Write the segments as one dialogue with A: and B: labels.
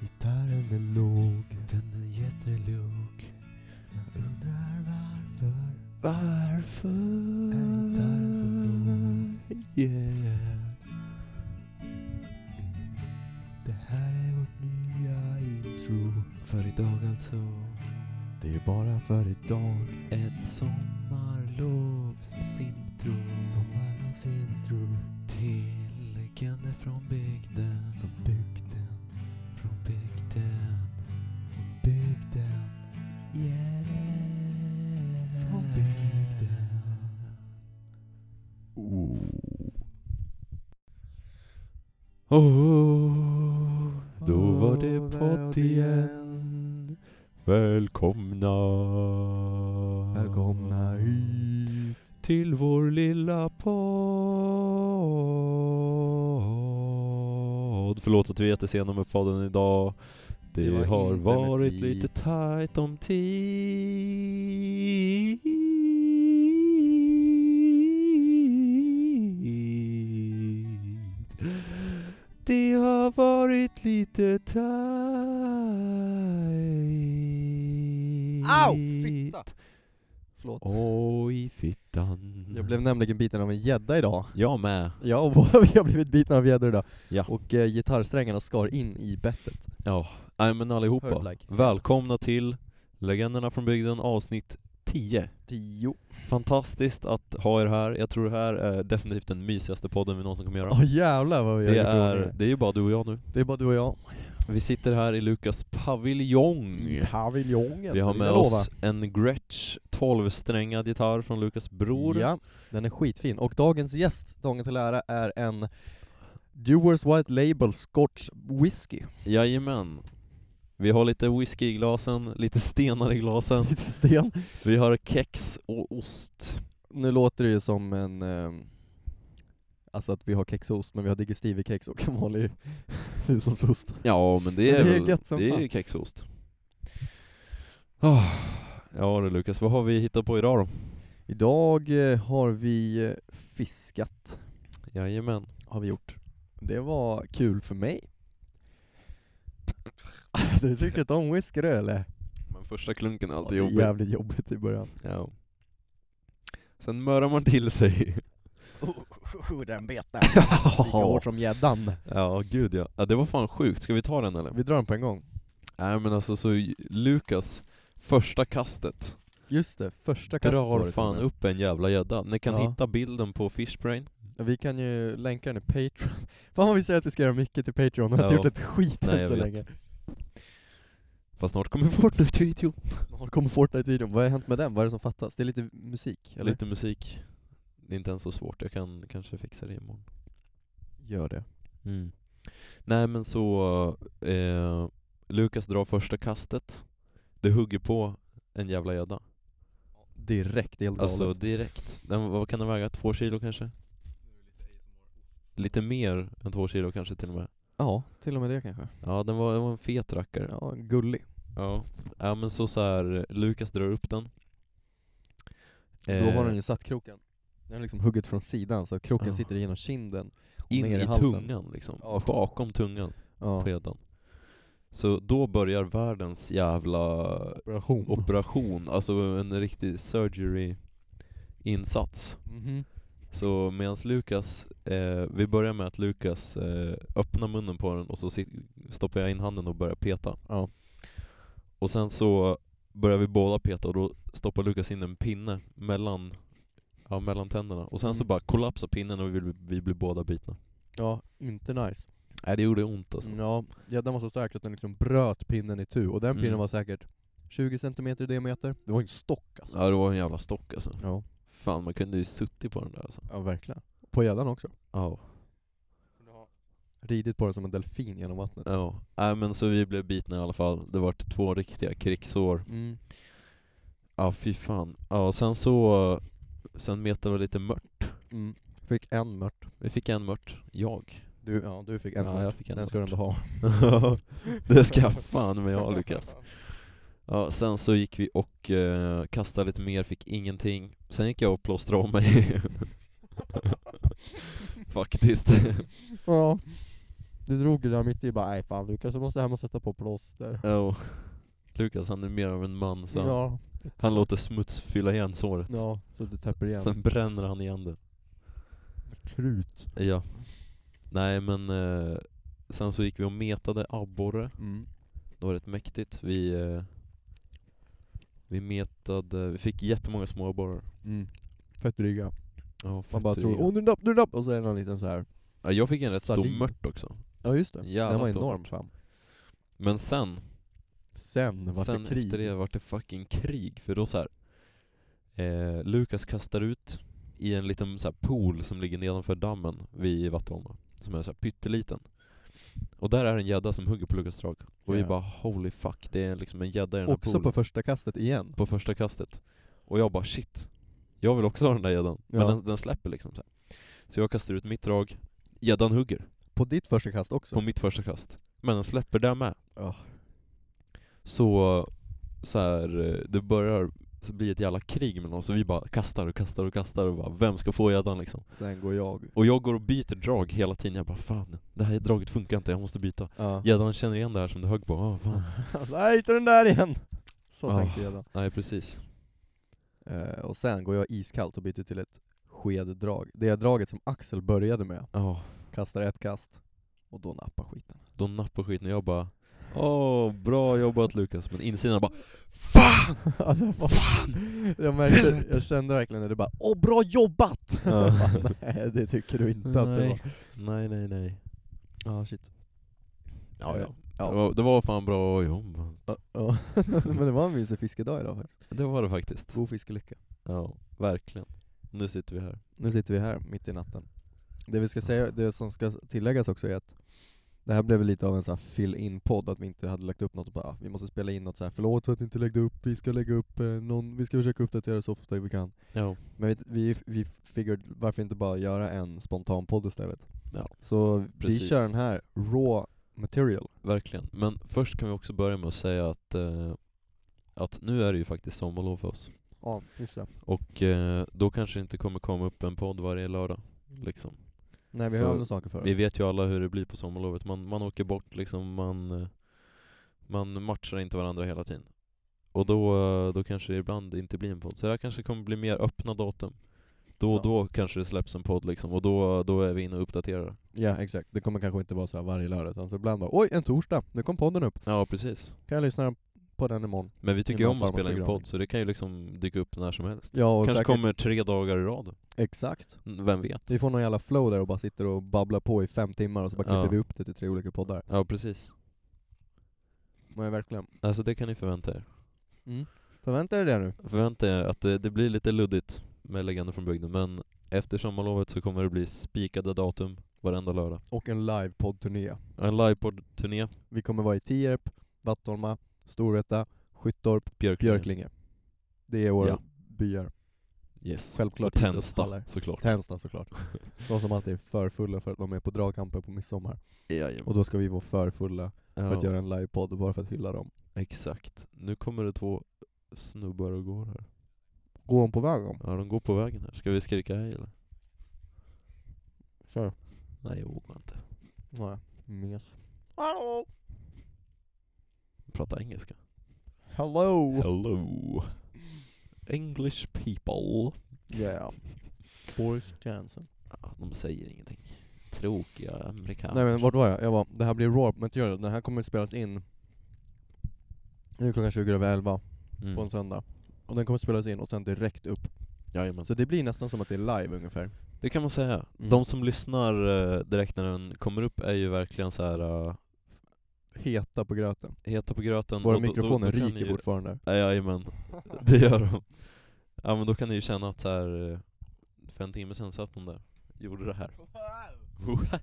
A: Den är låg, den är jättelåg. Jag undrar varför. Varför? Är gitarren så låg? Yeah. Det här är vårt nya intro. För idag alltså. Det är bara för idag. Ett sommarlovsintro. Sommarlovsintro. Tilläggande från bygden. Från bygden. Från bygden. Bygden. Yeah. Från bygden. Oh. Oh, då var det podd igen. Välkomna.
B: Välkomna hit.
A: Till vår lilla podd. Förlåt att vi är jättesena med podden idag. Det,
B: Det var
A: har
B: inte med
A: varit
B: flit.
A: lite tajt om tid. Det har varit lite tajt.
B: Au, fitta! Förlåt.
A: Oj, fittan.
B: Jag blev nämligen biten av en gädda idag.
A: Jag med.
B: Ja, och båda vi har blivit bitna av gäddor idag.
A: Ja.
B: Och eh, gitarrsträngarna skar in i bettet.
A: Ja, nej men allihopa.
B: Hörd like.
A: Välkomna till Legenderna från bygden avsnitt 10.
B: Tio.
A: Fantastiskt att ha er här. Jag tror det här är definitivt den mysigaste podden vi någonsin kommer göra.
B: Åh jävlar vad vi har
A: det,
B: gjort i
A: är,
B: ordning.
A: det är ju bara du och jag nu.
B: det är bara du och jag.
A: Vi sitter här i Lukas paviljong.
B: I paviljongen.
A: Vi har
B: vill
A: med
B: jag lova.
A: oss en Gretsch 12-strängad gitarr från Lukas bror.
B: Ja, den är skitfin. Och dagens gäst, dagen till ära, är en Dewars White Label Scotch Whisky.
A: Jajamän. Vi har lite whisky i glasen, lite stenar i glasen.
B: Lite sten.
A: Vi har kex och ost.
B: Nu låter det ju som en... ehm, alltså att vi har kexost, men vi har digestivekex och en vanlig hushållsost.
A: Ja, men det
B: Men
A: är,
B: det är
A: väl,
B: gött som
A: det är
B: fan.
A: ju kexost. Ah, Ja du Lukas, vad har vi hittat på idag då?
B: Idag eh, har vi eh, fiskat,
A: Jajamän.
B: har vi gjort. Det var kul för mig. du tyckte inte om whisky du, eller?
A: Men första klunken är
B: Ja, det
A: alltid
B: är
A: jobbig.
B: jävligt jobbigt i början.
A: Ja. Sen mörar man till sig.
B: den bet där. Lika hårt som gäddan.
A: ja, gud ja. ja. Det var fan sjukt. Ska vi ta den eller?
B: Vi drar den på en gång.
A: Nej men alltså så Lukas, första kastet,
B: Just det, första kastet var det
A: drar
B: till
A: fan
B: och med.
A: upp en jävla gädda. Ni kan
B: Ja.
A: hitta bilden på Fishbrain.
B: Vi kan ju länka den i Patreon. Fan vad vi säger att vi ska göra mycket till Patreon, och har inte
A: Ja.
B: gjort ett skit
A: Nej,
B: än
A: jag
B: så
A: vet.
B: länge.
A: Fast snart kommer Fortnite-video.
B: Har kommer Fortnite-videon, vad har hänt med den? Vad är det som fattas? Det är lite musik, eller?
A: Lite musik. Det är inte ens så svårt, jag kan kanske fixa det imorgon.
B: Gör det.
A: Mm. Nej men så, eh, Lukas drar första kastet. Det hugger på en jävla gädda.
B: Direkt, det är helt
A: Alltså
B: galet.
A: direkt. Den, vad kan den väga? Två kilo kanske? Lite mer än två kilo kanske till och med.
B: Ja, till och med det kanske.
A: Ja, den var, den var en fet rackare.
B: Ja, gullig.
A: Ja, ja men så, så här, Lukas drar upp den.
B: Då
A: Eh,
B: har den ju satt kroken. Den är liksom hugget från sidan, så att kroken
A: Ja.
B: sitter genom kinden. och
A: Eh, in
B: ner
A: i,
B: i halsen.
A: tungan liksom,
B: Ja.
A: bakom tungan
B: Ja.
A: på gäddan. Så då börjar världens jävla
B: Operation.
A: operation, alltså en riktig surgery insats.
B: Mhm.
A: Så medan Lukas, eh, vi börjar med att Lukas eh, öppnar munnen på den och så sit, stoppar jag in handen och börjar peta.
B: Ja.
A: Och sen så börjar vi båda peta och då stoppar Lukas in en pinne mellan, ja, mellan tänderna. Och sen så
B: Mm.
A: bara kollapsar pinnen och vi, blir- vi blir båda bitna.
B: ja, inte nice.
A: Nej det gjorde ont alltså.
B: Ja, gäddan var så stark att den liksom bröt pinnen i tu, och den pinnen
A: Mm.
B: var säkert 20 cm i diameter. Det var en stock alltså.
A: Ja det var en jävla stock alltså.
B: Ja,
A: Fan man kunde ju suttit på den där alltså.
B: ja verkligen. På gäddan också.
A: Ja.
B: Ridit på den som en delfin genom vattnet.
A: Ja. Nej men så vi blev bitna i alla fall. Det vart två riktiga krigsår.
B: Mm.
A: Ja fy fan. Ja och sen så, sen metade vi lite mört.
B: Mm. Fick en mört.
A: Vi fick en mört. Jag.
B: Du, ja, du fick en
A: ja,
B: mört.
A: jag fick en
B: Den ska du
A: mört.
B: ändå ha.
A: det ska fan med jag Lukas. Ja, sen så gick vi och eh, kastade lite mer, fick ingenting. Sen gick jag och plåstrade om mig. Faktiskt.
B: Ja. Du drog det där mitt i bara, nej fan Lukas du måste hem och sätta på plåster.
A: Oh. Lukas han är mer av en man så han-
B: Ja,
A: han låter smuts fylla igen såret.
B: ja, så du täpper igen.
A: Sen bränner han igen det.
B: Krut.
A: Ja. Nej men eh, sen så gick vi och metade abborre.
B: Mm.
A: Det var rätt mäktigt. Vi, eh, vi metade, vi fick jättemånga små abborrar.
B: Mm. Fett dryga.
A: Ja,
B: Man bara tror, åh nu napp, nu napp! Och så är det någon liten så här.
A: ja, jag fick en rätt
B: Sardin.
A: stor mört också.
B: Ja just det,
A: Jävla
B: den var
A: stort.
B: enorm fram.
A: Men sen,
B: Sen vart
A: sen
B: det krig.
A: efter det vart det fucking krig. För då så här. Eh, Lukas kastar ut i en liten så här pool som ligger nedanför dammen vid Vattholma. Som är så här pytteliten. Och där är en gädda som hugger på Lukas drag. Och vi
B: Ja.
A: bara holy fuck, det är liksom en gädda i den här
B: Också
A: poolen.
B: på första kastet igen.
A: på första kastet. Och jag bara shit, jag vill också ha den där gäddan.
B: Ja.
A: Men den, den släpper liksom så här. Så jag kastar ut mitt drag, gäddan hugger
B: På ditt första kast också.
A: på mitt första kast. Men den släpper där med.
B: Ja.
A: Så, så här, eh, det börjar så bli ett jävla krig mellan oss, så vi bara kastar och kastar och kastar och bara vem ska få gäddan liksom?
B: Sen går jag.
A: Och jag går och byter drag hela tiden, jag bara fan, det här draget funkar inte, jag måste byta.
B: Ja.
A: Gäddan känner igen det här som du högg på, ah fan.
B: Alltså, jag hittade den där igen! Så
A: Ah.
B: tänkte jag då.
A: Nej precis.
B: Eh, och sen går jag iskallt och byter till ett skeddrag. Det är draget som Axel började med.
A: Ja,
B: Kastar ett kast, och då nappar skiten.
A: de nappar skiten och jag bara Åh, bra jobbat Lukas. Men insidan bara FAN!
B: Ja, det var- jag, märkte, jag kände verkligen när du bara ”Åh, bra jobbat!”
A: Ja.
B: Jag bara, Nej, det tycker du inte att det
A: Nej.
B: var.
A: Nej nej nej.
B: Ja, shit.
A: Ja, ja.
B: Ja.
A: Det, var, det var fan bra jobbat.
B: Ja, ja. Men det var en mysig fiskedag idag faktiskt.
A: Det var det faktiskt.
B: God fiskelycka.
A: Ja, verkligen. Nu sitter vi här.
B: Nu sitter vi här, mitt i natten. Det vi ska säga, det som ska tilläggas också är att det här blev lite av en så här fill-in-podd, att vi inte hade lagt upp något och bara "Ah, vi måste spela in något så här. förlåt för att ni inte läggde upp, vi ska lägga upp eh, någon, vi ska försöka uppdatera så ofta vi kan.
A: Ja.
B: Men vi, vi, vi figured, varför inte bara göra en spontan podd istället?
A: Ja,
B: Så vi
A: precis.
B: kör den här, raw material.
A: Verkligen. Men först kan vi också börja med att säga att, eh, att nu är det ju faktiskt sommarlov för oss.
B: Ja, just det.
A: Och eh, då kanske det inte kommer komma upp en podd varje lördag. Liksom.
B: Nej vi
A: För-
B: har andra saker för
A: Vi
B: oss.
A: vet ju alla hur det blir på sommarlovet. Man, man åker bort liksom, man, eh, man matchar inte varandra hela tiden. Och då, eh, då kanske det ibland inte blir en podd. Så det här kanske kommer bli mer öppna datum. Då och
B: Ja.
A: då kanske det släpps en podd liksom, och då, då är vi inne och uppdaterar.
B: Ja exakt, det kommer kanske inte vara så här varje lördag utan så ibland bara oj, en torsdag, nu kom podden upp,
A: Ja, precis.
B: kan jag lyssna på den imorgon?
A: Men vi tycker ju om
B: Innan
A: att
B: farmors
A: spela in
B: begravning.
A: podd, så det kan ju liksom dyka upp när som helst.
B: Ja, och
A: Kanske
B: säkert,
A: kommer tre dagar i rad.
B: exakt.
A: Mm, Vem vet?
B: Vi får någon jävla flow där och bara sitter och babblar på i fem timmar och så bara klipper
A: Ja.
B: vi upp det till tre olika poddar.
A: Ja, precis.
B: Men verkligen.
A: Alltså det kan ni förvänta er.
B: Förvänta er det nu.
A: Förvänta er att det, det blir lite luddigt med Legender från bygden, men efter sommarlovet så kommer det bli spikade datum varenda lördag.
B: Och en livepodd-turné.
A: En livepodd-turné,
B: Vi kommer vara i Tierp, Vattholma, Storvreta, Skyttorp,
A: Björklinge.
B: Björklinge. Det är våra
A: Ja.
B: byar.
A: Yes.
B: Självklart
A: Och Tensta,
B: idrottshallar.
A: såklart.
B: Tänsta såklart. De som alltid är för fulla för att de är på dragkamper på midsommar.
A: Jajamän.
B: Och då ska vi vara för fulla för att
A: Ja,
B: göra en livepodd bara för att hylla dem.
A: Exakt. Nu kommer det två snubbar och går här.
B: Gå om på väg om.
A: Ja, de går på vägen här. Ska vi skrika hej eller?
B: Kör.
A: Nej, jag vågar inte.
B: Nej. Mes. Hallå!
A: Prata engelska.
B: Hello!
A: Hello. English people.
B: Yeah. Boris Johnson.
A: Ja, de säger ingenting. Tråkiga amerikaner.
B: Nej men vart var jag? Jag var, det här blir raw material, den här kommer att spelas in Nu är klockan 20 över 11
A: mm.
B: på en söndag Och den kommer att spelas in och sen direkt upp
A: Jajamän.
B: Så det blir nästan som att det är live ungefär
A: Det kan man säga.
B: Mm.
A: De som lyssnar eh, direkt när den kommer upp är ju verkligen så här eh,
B: Heta på gröten
A: heta på gröten.
B: Våra
A: och Mm, då- då-
B: mikrofoner
A: då kan
B: ryker
A: ni ju-
B: fortfarande
A: Ja, Jajamän, det gör de. Ja men då kan ni ju känna att så här eh, för en timme sen satt de där, gjorde det här.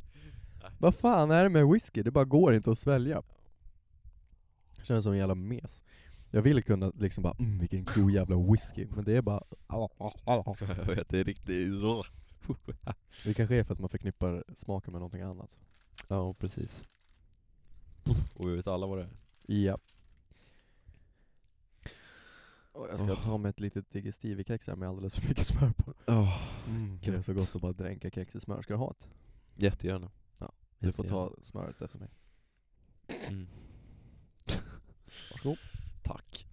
B: Vad fan är det med whisky? Det bara går inte att svälja Jag känner som en jävla mes Jag vill kunna liksom bara mm, vilken god jävla whisky Men det är bara
A: Jag vet, det är riktigt...
B: Det kanske är för att man förknippar smaken med någonting annat
A: Ja, precis. Och vi vet alla vad det är.
B: Ja. jag ska
A: Åh.
B: ta med ett litet digestivekex här med alldeles för mycket smör på. Mm,
A: Oh,
B: det är så gott att bara dränka kex i smör. Ska du ha ett?
A: jättegärna.
B: Du får ta smöret efter mig.
A: Mm.
B: Varsågod.
A: Tack.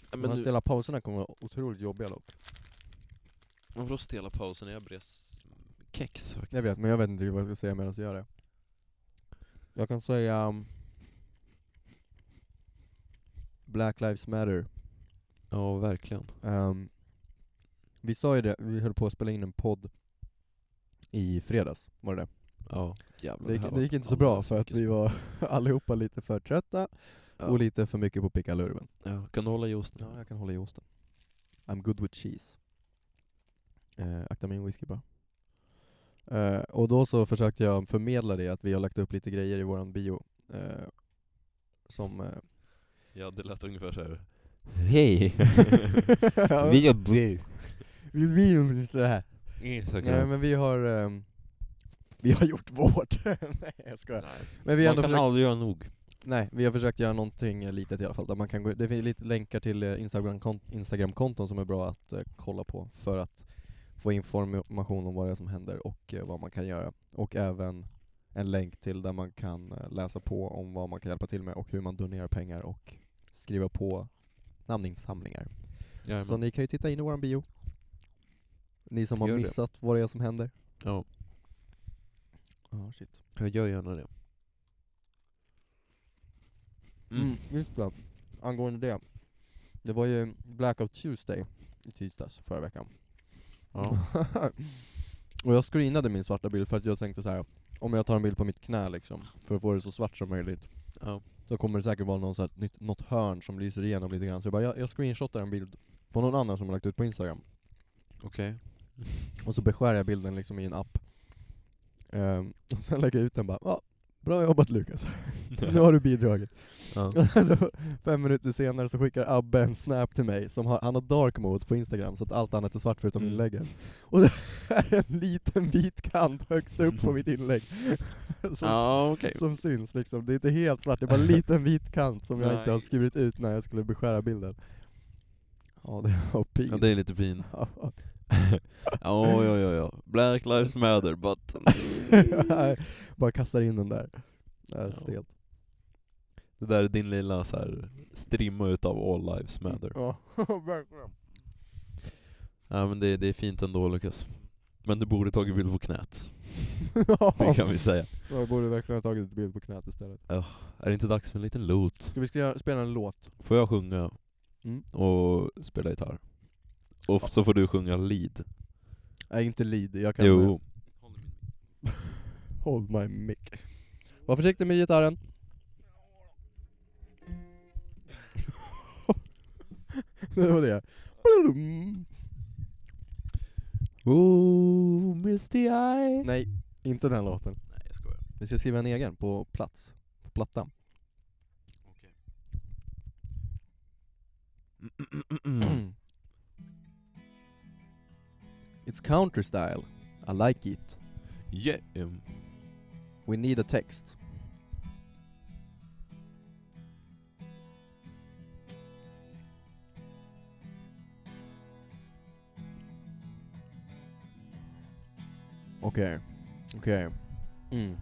A: Ja,
B: De
A: Men
B: här
A: nu,
B: stela pauserna kommer vara otroligt jobbiga dock.
A: vadå stela pausen? Jag bres kex faktiskt.
B: Jag vet, men jag vet inte vad jag ska säga medan jag gör det. Jag kan säga... um, Black Lives Matter.
A: Ja, verkligen.
B: Ehm, vi sa ju det, vi höll på att spela in en podd i fredags, var det det?
A: Ja, jävlar.
B: Det gick,
A: här
B: det
A: var
B: gick inte så bra
A: alldeles
B: för att
A: mycket
B: vi
A: sp-
B: var allihopa lite för trötta
A: Ja.
B: och lite för mycket på pickalurven.
A: Ja, kan du hålla just nu?
B: Ja, jag kan hålla i osten. I'm good with cheese. Eh, akta min whisky bara. Eh, och då så försökte jag förmedla det att vi har lagt upp lite grejer i våran bio eh, som... Eh,
A: Ja, det lät ungefär så här. Hej! Vi jobbar
B: vi vill inte det här.
A: inte
B: Nej men vi har... ehm, vi har gjort vårt. Nej jag skojar. Men vi har
A: Man kan
B: ändå försökt,
A: aldrig göra nog.
B: nej, vi har försökt göra någonting eh, litet i alla fall. Där man kan gå, det finns lite länkar till eh, Instagram-kon- Instagram-konton som är bra att eh, kolla på för att få information om vad det är som händer och eh, vad man kan göra. Och även en länk till där man kan eh, läsa på om vad man kan hjälpa till med och hur man donerar pengar och skriva på namninsamlingar. Så
A: Jajamän.
B: ni kan ju titta in i våran bio. Ni som har
A: Gör det.
B: missat vad det är som händer.
A: Ja,
B: Ja, shit.
A: jag gör gärna det.
B: Mm.
A: Mm.
B: just det. Angående det. Det var ju Blackout Tuesday i tisdags förra veckan.
A: Ja.
B: och jag screenade min svarta bild för att jag tänkte så här. om jag tar en bild på mitt knä liksom, för att få det så svart som möjligt,
A: ja.
B: då kommer det säkert vara någon så här, nytt, något hörn som lyser igenom lite grann. Så jag bara, jag, jag screenshotar en bild på någon annan som har lagt ut på Instagram.
A: Okej.
B: Och så beskär jag bilden liksom i en app. Ehm, och sen lägger jag ut den bara, ja, bra jobbat Lukas, nu har du bidragit.
A: Ja.
B: Alltså, Fem minuter senare så skickar Abbe en snap till mig, som har, han har dark mode på instagram så att allt annat är svart förutom
A: Mm.
B: inläggen. Och det är en liten vit kant högst upp på mitt inlägg. Som,
A: Ja, okej.
B: som syns liksom, det är inte helt svart, det är bara en liten vit kant som jag inte har
A: Nej.
B: skrivit ut när jag skulle beskära bilden. Ja det var pinsamt.
A: Ja, det är lite pin.
B: Ja.
A: Ja, ja, ja, ja. Black lives matter, but...
B: Bara kastar in den där. Det är
A: Ja.
B: stelt.
A: Det där är din lilla så här, strimma utav all lives matter.
B: Ja, verkligen.
A: Ja, men det, det är fint ändå Lukas. Men du borde tagit bild på knät. Det
B: ja,
A: kan vi säga.
B: jag borde verkligen ha tagit ett bild på knät istället.
A: Är det inte dags för en liten loot?
B: Ska vi ska spela en låt?
A: Får jag sjunga
B: Mm.
A: och spela gitarr? Och f- så får du sjunga lead.
B: Nej, inte lead. Jag kan...
A: Jo.
B: Hold my mic. Var försiktig med gitarren. det var det.
A: Oh, misty eye. Nej,
B: Nej, inte den låten.
A: jag skojar.
B: Vi ska skriva en egen på plats. På platta. It's country style. I like it.
A: yeah. um,
B: We need a text. Okej, okej. Mm.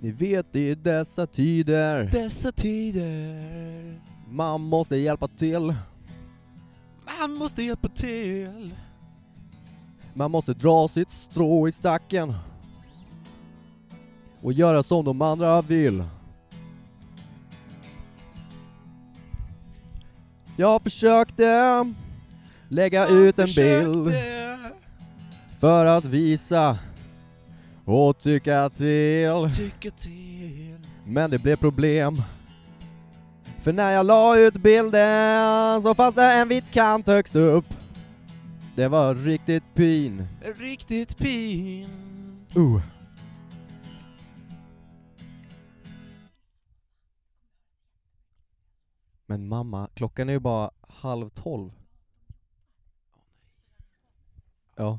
B: Ni vet i dessa tider,
A: Dessa tider
B: man måste hjälpa till.
A: Man måste hjälpa till
B: Man måste dra sitt strå i stacken och göra som de andra vill. Jag försökte lägga ut en bild
A: eh,
B: för att visa och tycka till.
A: Tycka till
B: Men det blev problem. För när jag la ut bilden så fanns det en vit kant högst upp. Det var riktigt pin.
A: Riktigt pin
B: Uh. Men mamma, klockan är ju bara halv tolv. Ja.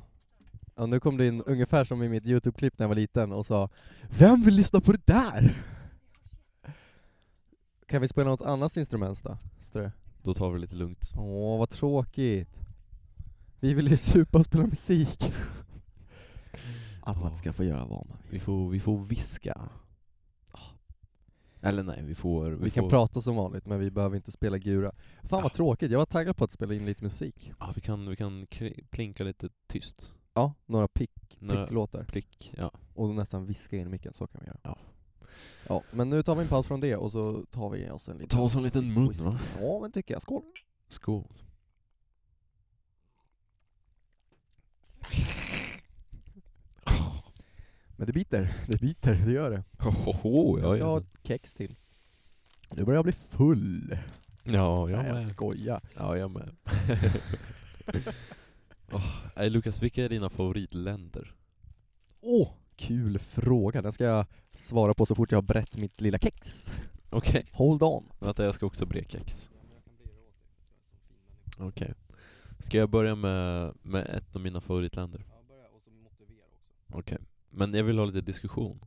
B: ja nu kom det in ungefär som i mitt Youtube-klipp när jag var liten och sa Vem vill lyssna på det där? Kan vi spela något annat instrument då? Strö?
A: Då tar vi det lite lugnt.
B: Åh, vad tråkigt. Vi vill ju supa och spela musik. Att man
A: Ja.
B: ska få göra vad man vill.
A: Vi får, vi får viska. Eller nej, Ah. vi får...
B: Vi kan
A: får,
B: prata som vanligt men vi behöver inte spela gura. Fan vad
A: Ah.
B: tråkigt, jag var taggad på att spela in lite musik.
A: Ja, vi kan, vi kan kri- plinka lite tyst.
B: Ja, några pick,
A: Några-
B: picklåtar.
A: Plick, ja.
B: Och nästan viska in i micken, så kan vi göra.
A: Ja.
B: Ja, men nu tar vi en paus från det och så tar vi oss en liten...
A: Ta oss en liten mun,
B: whisky.
A: va?
B: Ja men tycker jag, skål!
A: Skål.
B: Men det biter, det biter, det gör det.
A: Hohoho,
B: Jag ska ha ett kex till. Nu börjar jag bli full.
A: Ja, jag
B: Nej, jag
A: med.
B: skojar.
A: Ja, jag med. oh, nej, Lukas, vilka är dina favoritländer?
B: Åh, kul fråga. Den ska jag svara på så fort jag har brett mitt lilla kex.
A: Okej.
B: Hold on.
A: Vänta, jag ska också bre kex. Okej. Ska jag börja med, med ett av mina favoritländer? Okej. Men jag vill ha lite diskussion.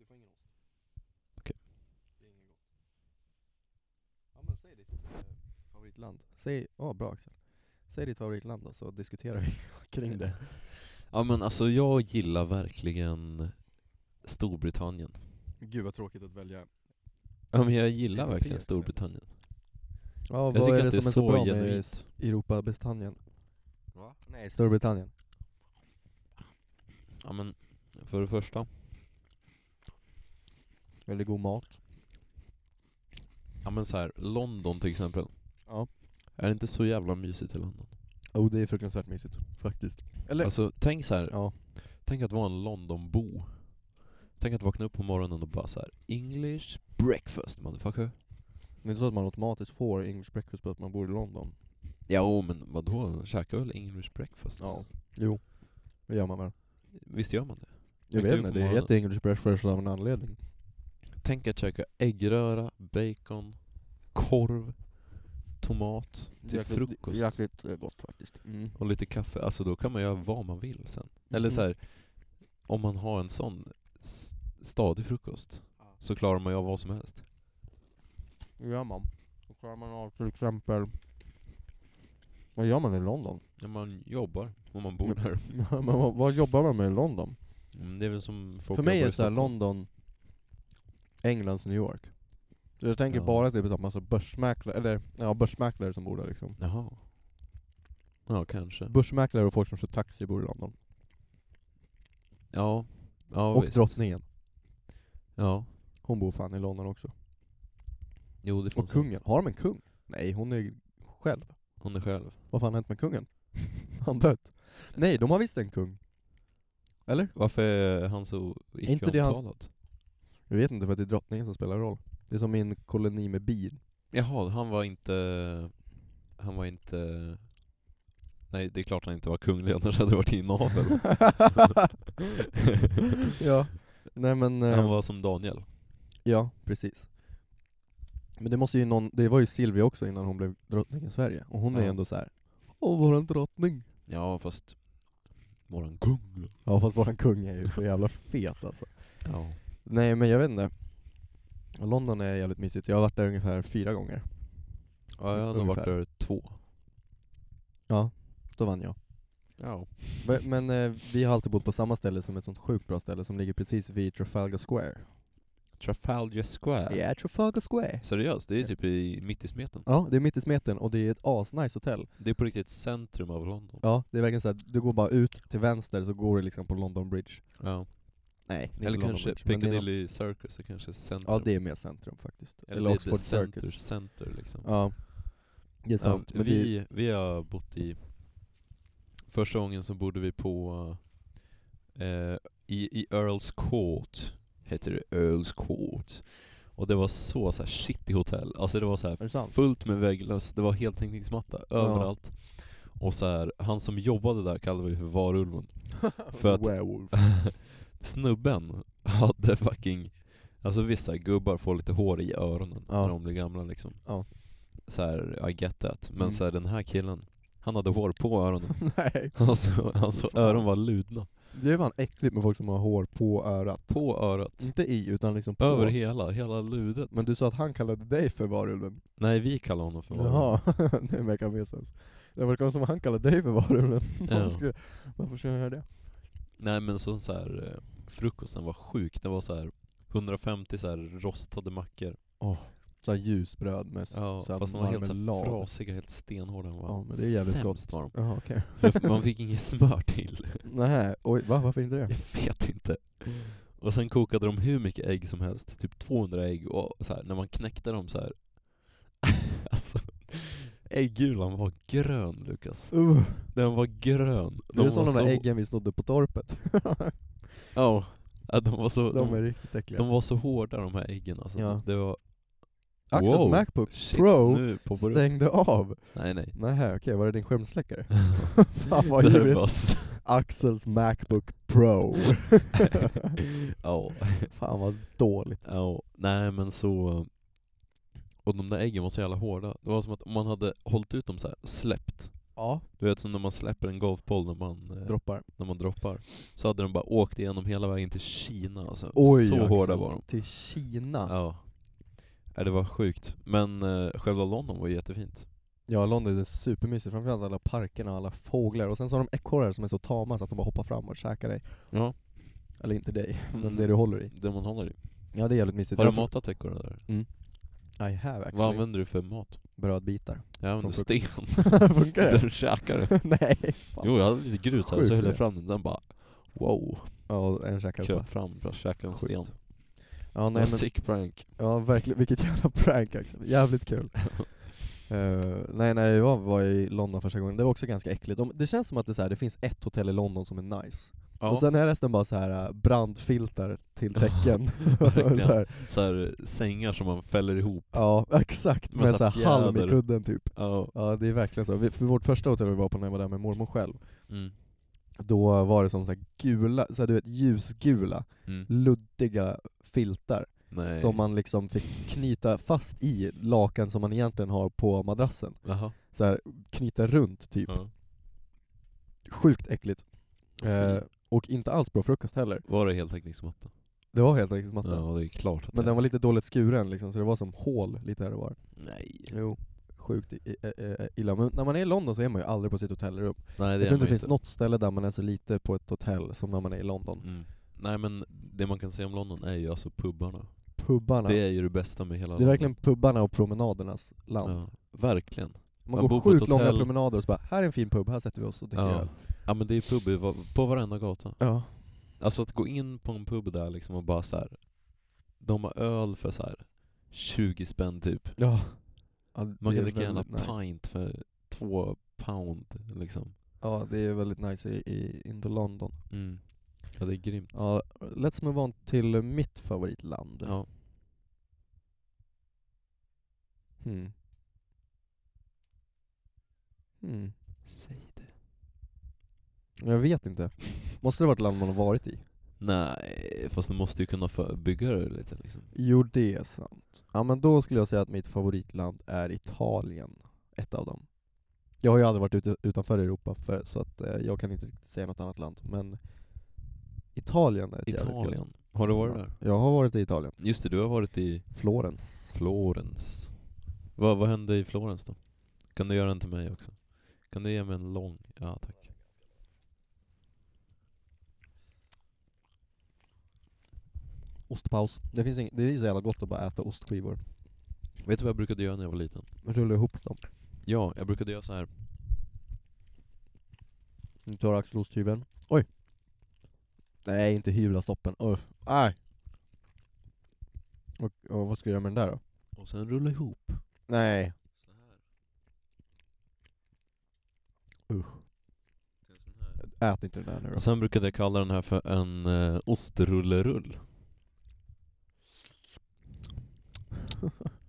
B: eh, Favoritland. Säg, ja bra Axel. Säg ditt favoritland då så diskuterar vi kring det.
A: Ja men alltså jag gillar verkligen Storbritannien.
B: Gud vad tråkigt att välja.
A: Ja men jag gillar verkligen
B: Europeiskt.
A: Storbritannien.
B: Ja,
A: Jag
B: vad
A: tycker
B: är det
A: att det
B: som
A: är
B: är så
A: så
B: bra med
A: genuint.
B: Europa-Britannien? Nej, Storbritannien.
A: Ja men för det första,
B: Väldigt god mat.
A: ja men så här, London till exempel.
B: Ja.
A: Är det inte så jävla mysigt i London?
B: Oh, det är fruktansvärt mysigt. Faktiskt. Eller?
A: Alltså tänk så här,
B: Ja.
A: tänk att vara en Londonbo. Tänk att vakna upp på morgonen och bara så här, English breakfast motherfucker.
B: Det är inte så att man automatiskt får English breakfast på att man bor i London.
A: Ja men vadå, käka väl English breakfast?
B: Jo. Det gör man väl?
A: Visst gör man det?
B: Jag
A: Mycket
B: vet
A: på
B: inte, det
A: morgonen.
B: heter English breakfast av en anledning.
A: Tänk att käka äggröra, bacon, korv, tomat till frukost.
B: Jäkligt eh, gott faktiskt. Mm.
A: Och lite kaffe. Alltså då kan man göra vad man vill sen. Eller så
B: Mm,
A: här, om man har en sån s- stadig frukost så klarar man ju av vad som helst.
B: Hur gör man? Då klarar man av till exempel... Vad gör man i London?
A: När man jobbar och man bor här.
B: Men vad, vad jobbar man med i London?
A: Mm, Det är väl som folk
B: För mig
A: jobbar
B: är
A: i
B: det såhär
A: Stockholm.
B: London, Englands New York. Så jag tänker
A: Ja.
B: bara att det är en massa börsmäklare, eller ja börsmäklare som bor där liksom.
A: Jaha. Ja, kanske.
B: Börsmäklare och folk som kör taxi bor i London.
A: Ja. Ja,
B: och
A: visst.
B: drottningen.
A: Ja.
B: Hon bor fan i London också.
A: Jo, det
B: Och
A: finns en.
B: kungen. Har de en kung? Nej, hon är själv.
A: Hon är själv.
B: Vad fan har hänt med kungen? Han dött. Nej, de har visst en kung. Eller?
A: Varför är han så
B: inte det hans-
A: icke-omtalad?
B: Jag vet inte för att det är drottningen som spelar roll. Det är som min koloni med bin.
A: Jaha, han var inte... Han var inte... Nej, det är klart han inte var kunglig, annars hade det varit inavel.
B: ja. Nej men, eh,
A: han var som Daniel.
B: ja precis. Men det måste ju någon, det var ju Silvia också innan hon blev drottning i Sverige. Och hon är
A: Ja.
B: ju ändå så här. åh våran drottning.
A: Ja, fast... Våran kung
B: Ja fast våran kung är ju så jävla fet alltså.
A: Ja.
B: Nej men jag vet inte. London är jävligt mysigt, jag har varit där ungefär fyra gånger.
A: ja jag har nog varit
B: Ungefär.
A: där två.
B: Ja, då vann jag.
A: Ja.
B: Men- Men eh, vi har alltid bott på samma ställe som ett sånt sjukt bra ställe som ligger precis vid Trafalgar Square.
A: Trafalgar Square.
B: Ja, Trafalgar Square.
A: Seriöst, det är typ i, mitt i smeten.
B: Ja, det är mitt i smeten och det är ett asnice hotell.
A: Det är på riktigt centrum av London.
B: Ja, det är verkligen såhär, du går bara ut till vänster så går du liksom på London Bridge.
A: Ja.
B: Nej, det är
A: Eller
B: inte London
A: kanske
B: Bridge, men det är någon-
A: Piccadilly Circus är kanske centrum.
B: Ja, det är mer centrum faktiskt.
A: Eller,
B: Eller,
A: det är the
B: Oxford
A: center,
B: Circus.
A: center liksom.
B: Ja, det är sant.
A: Ja,
B: men det är-
A: vi, vi har bott i... Första gången så bodde vi på... Eh, i, I Earls Court. Heter det Earls Court. Och det var så, så här shitty hotell. Alltså det var så här
B: är det sant?
A: fullt med vägglöss, det var heltäckningsmatta överallt. Och så här, han som jobbade där kallade vi för varulven. för att-
B: Werewolf.
A: Snubben hade fucking, alltså vissa gubbar får lite hår i öronen
B: Ja.
A: när de blir gamla liksom.
B: Ja.
A: Så här, I get that. Men
B: Mm.
A: så här, den här killen, han hade hår på öronen.
B: Nej.
A: Alltså, alltså
B: Fan.
A: öron var ludna.
B: Det är fan äckligt med folk som har hår på örat.
A: På örat.
B: Inte i, utan liksom på.
A: Över hela, hela ludet.
B: Men du sa att han kallade dig för varulven.
A: Nej, vi kallar honom för varulven.
B: Jaha, det verkar mer sens. Det verkar som att han kallade dig för varulven.
A: Ja.
B: Varför skulle- Varför ska jag göra det?
A: Nej men så, så här, eh, frukosten var sjuk. Det var så här 150 så här rostade mackor.
B: Såhär ljusbröd med
A: Ja,
B: så här
A: fast de var helt så här
B: marmelad.
A: frasiga, helt stenhårda. De var
B: Ja, men det är jävligt
A: sämst var de.
B: Jaha okej.
A: Man fick inget smör till.
B: Nej, oj va? Varför inte det?
A: Jag vet inte. Och sen kokade de hur mycket ägg som helst, typ 200 ägg, och så här, när man knäckte dem så här. alltså, äggulan var grön Lukas.
B: Uh,
A: Den var grön.
B: det är
A: var
B: som de där
A: så-
B: äggen vi snodde på torpet.
A: Ja, ja, de var så,
B: de är
A: de,
B: riktigt äckliga.
A: de var så hårda de här äggen alltså.
B: Ja.
A: Det var,
B: Axels
A: Wow.
B: Macbook
A: shit,
B: Pro
A: nu poppar det upp.
B: stängde av.
A: Nej nej.
B: Nej, okej, var det din skärmsläckare? Fan vad
A: det här är
B: djurigt.
A: bara s-
B: Axels Macbook Pro.
A: Ja,
B: Fan vad dåligt.
A: ja. Nej men så... Och de där äggen var så jävla hårda. Det var som att om man hade hållit ut dem så här och släppt.
B: Ja,
A: Du vet som när man släpper en golfboll när man, eh,
B: droppar.
A: när man droppar. Så hade de bara åkt igenom hela vägen till Kina alltså.
B: Oj,
A: så
B: Axel,
A: hårda var de.
B: Till Kina. Ja,
A: Ja. Nej, det var sjukt. Men eh, själva London var ju jättefint.
B: London är supermysigt. Framförallt alla parkerna och alla fåglar. Och sen så har de ekorrar som är så tama så att de bara hoppar fram och käkar dig.
A: Ja.
B: Eller inte dig, men
A: Mm.
B: det du håller i.
A: Det man håller i.
B: Ja, det är jävligt mysigt.
A: Har du
B: Därför-
A: matat ekorrarna där?
B: I have
A: Vad
B: actually.
A: använder du för mat?
B: Brödbitar.
A: Jag använder
B: frukost.
A: sten.
B: Funkar det?
A: Den käkar du.
B: Nej. fan.
A: Jo, jag hade lite grus här,
B: Sjukt
A: så höll
B: det.
A: jag fram den, den bara wow.
B: Ja, och en käkar
A: Kröp
B: upp.
A: fram, bara käkade en
B: Sjukt.
A: sten.
B: Ja,
A: Det var
B: nej,
A: en
B: men,
A: sick prank.
B: ja, verkligen. Vilket jävla prank Axel. Jävligt kul. Eh, nej, nej, jag var i London första gången. Det var också ganska äckligt. De, det känns som att det, är så här, det finns ett hotell i London som är nice. Och sen är resten bara så här eh, brandfiltar till tecken.
A: Verkligen.
B: så här,
A: så här, sängar som man fäller ihop.
B: ja, exakt.
A: Med
B: Med,
A: så
B: så
A: här
B: här halm i
A: fjäder.
B: kudden typ.
A: Ja.
B: Ja, det är verkligen så. Vi, för vårt första hotell vi var på när jag var där med mormor själv,
A: Mm.
B: då var det som så här gula, så här, du vet ljusgula,
A: Mm.
B: luddiga filtar
A: Nej.
B: som man liksom fick knyta fast i lakan som man egentligen har på madrassen.
A: Jaha.
B: Så här, knyta runt typ.
A: Ja.
B: Sjukt äckligt.
A: Fy.
B: Eh, och inte alls bra frukost heller.
A: Var det heltäckningsmatta?
B: Det var helt enkelt matta.
A: Ja, det är klart att
B: Men
A: det
B: den var lite dåligt skuren liksom, så det var som hål lite här och var.
A: Nej.
B: Jo. Sjukt i, i, i, illa. Men när man är i London så är man ju aldrig på sitt hotellrum.
A: Nej, det
B: jag
A: är
B: tror inte
A: man
B: det finns
A: inte.
B: något ställe där man är så lite på ett hotell som när man är i London.
A: Mm. Nej men det man kan säga om London är ju alltså pubbarna.
B: Pubarna.
A: Det
B: Det är,
A: är ju det bästa med hela
B: verkligen pubarna och promenadernas land.
A: London. Ja, verkligen.
B: Man,
A: Man bor
B: går
A: på ett
B: sjukt långa
A: hotell.
B: promenader och så bara, här är en fin pub, här sätter vi oss och dricker öl.
A: Ja. ja men det är pub i va- på varenda gata.
B: Ja.
A: Alltså att gå in på en pub där liksom och bara så här. De har öl för så här 20 spänn typ.
B: ja.
A: Man
B: det är
A: kan dricka en
B: väldigt nice.
A: pint för två pound liksom.
B: Ja, det är väldigt nice i, i in the London.
A: Mm. Ja det är grymt.
B: Ja, let's move on till mitt favoritland.
A: Ja.
B: Hmm. Hmm.
A: Säg det.
B: Jag vet inte. Måste det vara ett land man har varit i?
A: Nej, fast du måste ju kunna för- bygga det lite liksom.
B: Jo, det är sant. Ja, men då skulle jag säga att mitt favoritland är Italien. Ett av dem. Jag har ju aldrig varit ute, utanför Europa, för, så att, eh, jag kan inte riktigt säga något annat land. Men Italien är ett jävligt kul
A: Italien. Har du varit
B: land.
A: där?
B: Jag har varit i Italien.
A: Just det, du har varit i
B: Florens.
A: Florens. Vad, vad hände i Florens då? Kan du göra en till mig också? Kan du ge mig en lång? Ja, tack.
B: Ostpaus. Det, finns ing- det är så jävla gott att bara äta ostskivor.
A: Vet du vad jag brukade göra när jag var liten?
B: Rulla ihop dem.
A: Ja, jag brukade göra så här.
B: Nu tar Axel osthyveln. Oj! Nej, inte hyvlastoppen. Usch. Nej! Och, och vad ska jag göra med den där då?
A: och sen rulla ihop.
B: Nej.
A: Så här.
B: Usch.
A: Till en sån här.
B: Ät inte den där nu då.
A: Och sen brukade jag kalla den här för en eh, ostrullerull.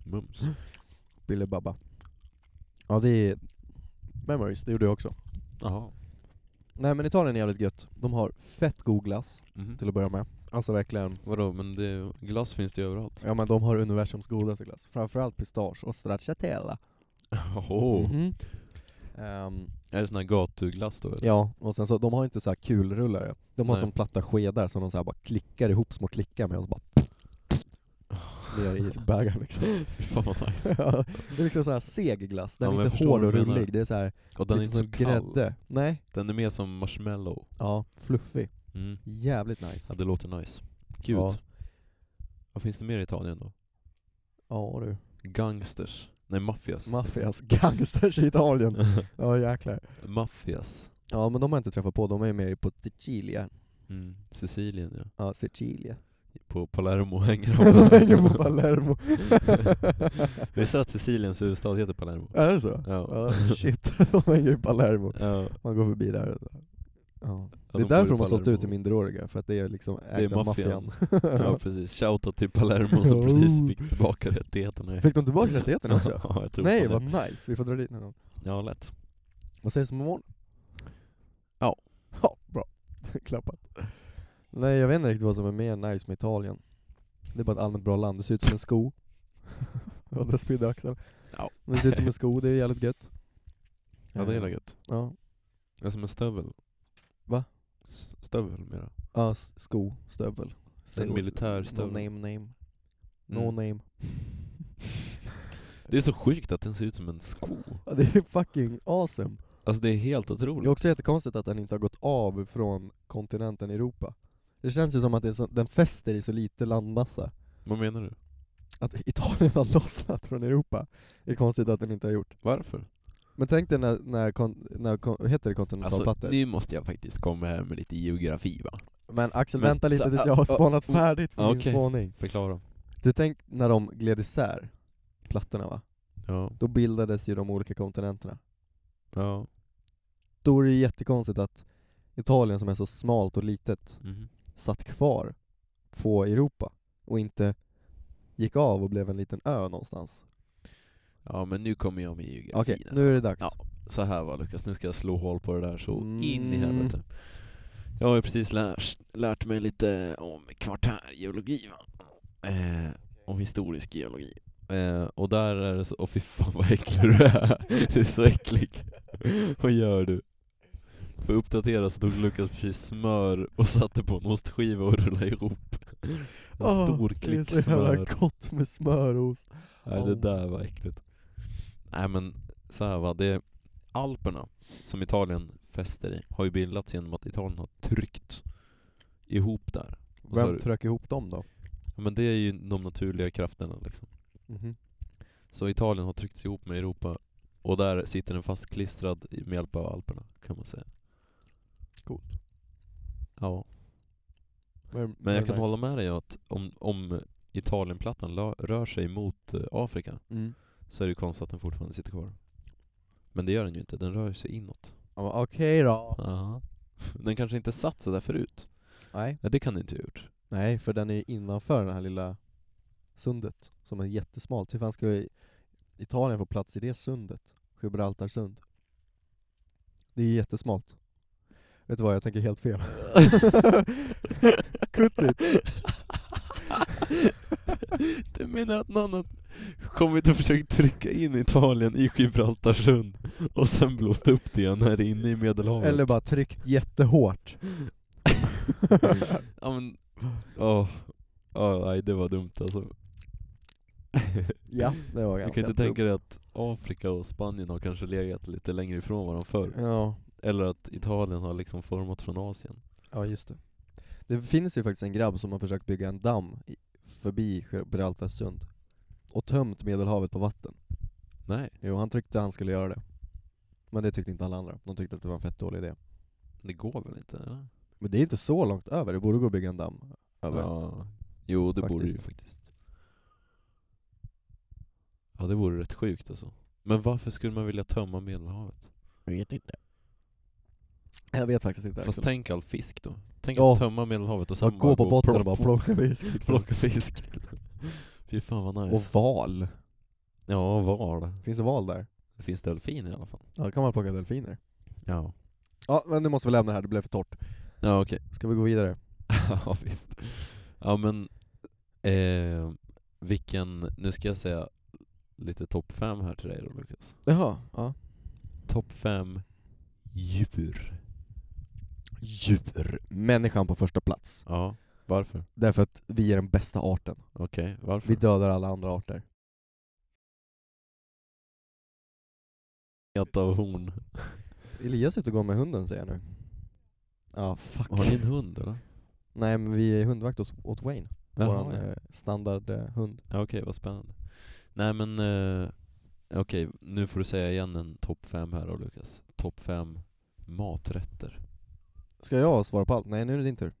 A: Mums.
B: Billy Babba. Ja det är memories, det gjorde jag också.
A: Jaha.
B: Nej men Italien är jävligt gött. De har fett god glass
A: Mhm.
B: till att börja med. Alltså verkligen.
A: Vadå, men det, glass finns det ju överallt.
B: Ja men de har universums godaste glass. Framförallt pistage och stracciatella.
A: Åh,
B: Mhm. Ehm,
A: Är det sån här gatuglass då eller?
B: ja, och sen så, de har inte så här kulrullare. De har
A: Nej.
B: som platta skedar som de så här bara klickar ihop små klickar med och så bara ner i isbägaren liksom.
A: Fy Fan vad nice.
B: Ja, det är liksom så här seg glass,
A: Ja,
B: den
A: men
B: är
A: jag
B: inte
A: förstår
B: hård
A: vad
B: och
A: du menar.
B: rullig, det är så här,
A: Och den är
B: lite
A: inte så
B: som
A: kall.
B: grädde. Nej,
A: Den är mer som marshmallow.
B: ja, fluffig.
A: Mm.
B: Jävligt
A: Ja,
B: nice.
A: det låter nice. Gud.
B: Ja.
A: Vad finns det mer i Italien då?
B: Ja du.
A: Gangsters? Nej, maffias.
B: Maffias, gangsters i Italien. Ja jäklar.
A: maffias.
B: Ja men de har jag inte träffat på, de är ju mer på Sicilia.
A: Mm. Sicilien ja.
B: Ja, Sicilia.
A: På Palermo hänger
B: De hänger på Palermo.
A: Visst är det att Siciliens huvudstad heter Palermo?
B: är det så?
A: Ja.
B: Ja, shit, de hänger i Palermo.
A: Ja,
B: Man går förbi där. och så. Ja.
A: ja,
B: det är
A: bor i
B: därför de har sålt
A: Palermo.
B: ut till minderåriga, för att det är liksom ägt
A: är
B: av
A: maffian.
B: maffian.
A: Ja precis, shoutout till Palermo som precis fick tillbaka rättigheterna.
B: Fick de tillbaka rättigheterna också?
A: ja, jag tror
B: Nej
A: fan
B: vad
A: det.
B: nice, vi får dra dit någon gång.
A: Ja, lätt.
B: Vad sägs om imorgon?
A: Ja.
B: Ja, bra. Klappat. Nej jag vet inte riktigt vad som är mer nice med Italien. Det är bara ett allmänt bra land, det ser ut som en sko. Ja, där spydde axeln.
A: Ja.
B: Men det ser ut som en sko, det är jävligt gött.
A: Ja det är gött.
B: Ja,
A: Ja, som en stövel.
B: Va?
A: S- Stövel mera.
B: ja s- sko, stövel. Säg
A: En
B: åt-
A: militär
B: No
A: stövel.
B: name name. No
A: Mm.
B: name.
A: Det är så sjukt att den ser ut som en sko.
B: Ja, det är fucking awesome.
A: Alltså det är helt
B: Det är
A: otroligt.
B: också jättekonstigt att den inte har gått av från kontinenten Europa. Det känns ju som att det är så, den fäster i så lite landmassa.
A: Vad menar du?
B: Att Italien har lossnat från Europa. Det är konstigt att den inte har gjort.
A: Varför?
B: Men tänk dig när, när, kon, när kon, heter det kontinentalplattor?
A: Alltså, nu måste jag faktiskt komma här med lite geografi va?
B: men Axel
A: men-
B: vänta lite
A: så-
B: tills
A: ah,
B: jag har
A: ah,
B: spanat
A: oh,
B: färdigt på
A: ah,
B: min
A: okej.
B: spaning.
A: Förklara.
B: Du tänk när de gled isär, plattorna va?
A: Ja.
B: Då bildades ju de olika kontinenterna.
A: Ja.
B: Då är det ju jättekonstigt att Italien som är så smalt och litet
A: Mhm.
B: satt kvar på Europa och inte gick av och blev en liten ö någonstans.
A: Ja men nu kommer jag med geografin.
B: Okej, nu är det dags.
A: Ja. Så här var Lukas, nu ska jag slå hål på det där så in i
B: Mm.
A: helvete. Jag har ju precis lärt, lärt mig lite om kvartärgeologi va? Eh, om historisk geologi. Eh, och där är det så, åh fy fan vad äcklig du är. Du är så äcklig. vad gör du? För att uppdatera så tog Lukas precis smör och satte på en ostskiva och rullade ihop. En
B: Åh,
A: stor
B: det är
A: klick
B: så jävla
A: smör.
B: gott med smörost.
A: Nej det
B: Åh.
A: där var äckligt. Nej men så här va, det Alperna som Italien fäster i har ju bildats genom att Italien har tryckt ihop där. Och så har
B: Vem
A: du-
B: tröck ihop dem då?
A: Ja, men det är ju de naturliga krafterna liksom.
B: Mhm.
A: Så Italien har tryckts ihop med Europa och där sitter den fastklistrad i- med hjälp av Alperna kan man säga.
B: Coolt.
A: Ja.
B: Very-
A: Men
B: very
A: jag kan
B: nice.
A: hålla med dig att om, om Italienplattan la- rör sig mot eh, Afrika
B: Mm.
A: så är det ju konstigt att den fortfarande sitter kvar. Men det gör den ju inte, den rör sig inåt.
B: Ja, men Okej då.
A: Aha. Den kanske inte satt så där förut?
B: Nej.
A: Nej, det kan den inte ha gjort.
B: Nej, för den är ju innanför den här lilla sundet som är jättesmalt. Hur fan ska i- Italien få plats i det sundet? Gibraltarsund. Det är ju jättesmalt. Vet du vad, jag tänker helt fel. Kuttigt.
A: Du menar att någon annan kommit och försökt trycka in Italien i Gibraltarsund och sen blåst upp det igen här inne i Medelhavet?
B: Eller bara tryckt jättehårt.
A: Ja men, åh, åh, nej det var dumt alltså.
B: ja, det var
A: Jag
B: ganska
A: kan inte tänka dig att Afrika och Spanien har kanske legat lite längre ifrån varandra förr.
B: Ja,
A: Eller att Italien har liksom format från Asien.
B: ja just det. Det finns ju faktiskt en grabb som har försökt bygga en damm i- förbi Gibraltarsund. Och tömt medelhavet på vatten.
A: Nej,
B: Jo, han tyckte han skulle göra det. Men det tyckte inte alla andra. De tyckte att det var en fett dålig idé.
A: det går väl inte? Eller?
B: Men det är inte så långt över, det borde gå att bygga en damm över.
A: Ja, jo det borde ju
B: Faktiskt.
A: faktiskt. Ja det vore rätt sjukt alltså. Men varför skulle man vilja tömma Medelhavet?
B: Jag vet inte. Jag vet faktiskt inte.
A: Fast
B: Axel.
A: tänk all fisk då. Tänk
B: Ja.
A: att tömma Medelhavet och sen
B: Bara gå på botten och bara
A: plock-
B: plocka fisk. liksom.
A: plocka fisk. Fy fan vad nice.
B: Och val.
A: Ja, var.
B: Finns det val där?
A: Det finns delfiner i alla fall.
B: Ja, då kan man plocka delfiner.
A: Ja.
B: Ja, men nu måste vi lämna det här, det blev för torrt.
A: Ja okej.
B: Ska vi gå vidare?
A: ja visst. Ja men, eh, vilken, nu ska jag säga lite topp fem här till dig då Lukas.
B: Jaha, ja.
A: Topp fem djur.
B: Djur. Människan på första plats.
A: Ja, varför?
B: Därför att vi är den bästa arten.
A: Okej, varför?
B: Vi dödar alla andra arter.
A: Ett av horn.
B: Elias är ute och går med hunden säger jag nu. Ja, fuck.
A: Har ni en hund eller?
B: Nej men vi är hundvakt åt, åt Wayne.
A: Jaha,
B: Våran
A: ja.
B: eh, standardhund.
A: Ja, Okej, vad spännande. Nej men, eh, okej, nu får du säga igen en topp fem här då Lukas. Topp fem maträtter.
B: Ska jag svara på allt? Nej nu är det din tur.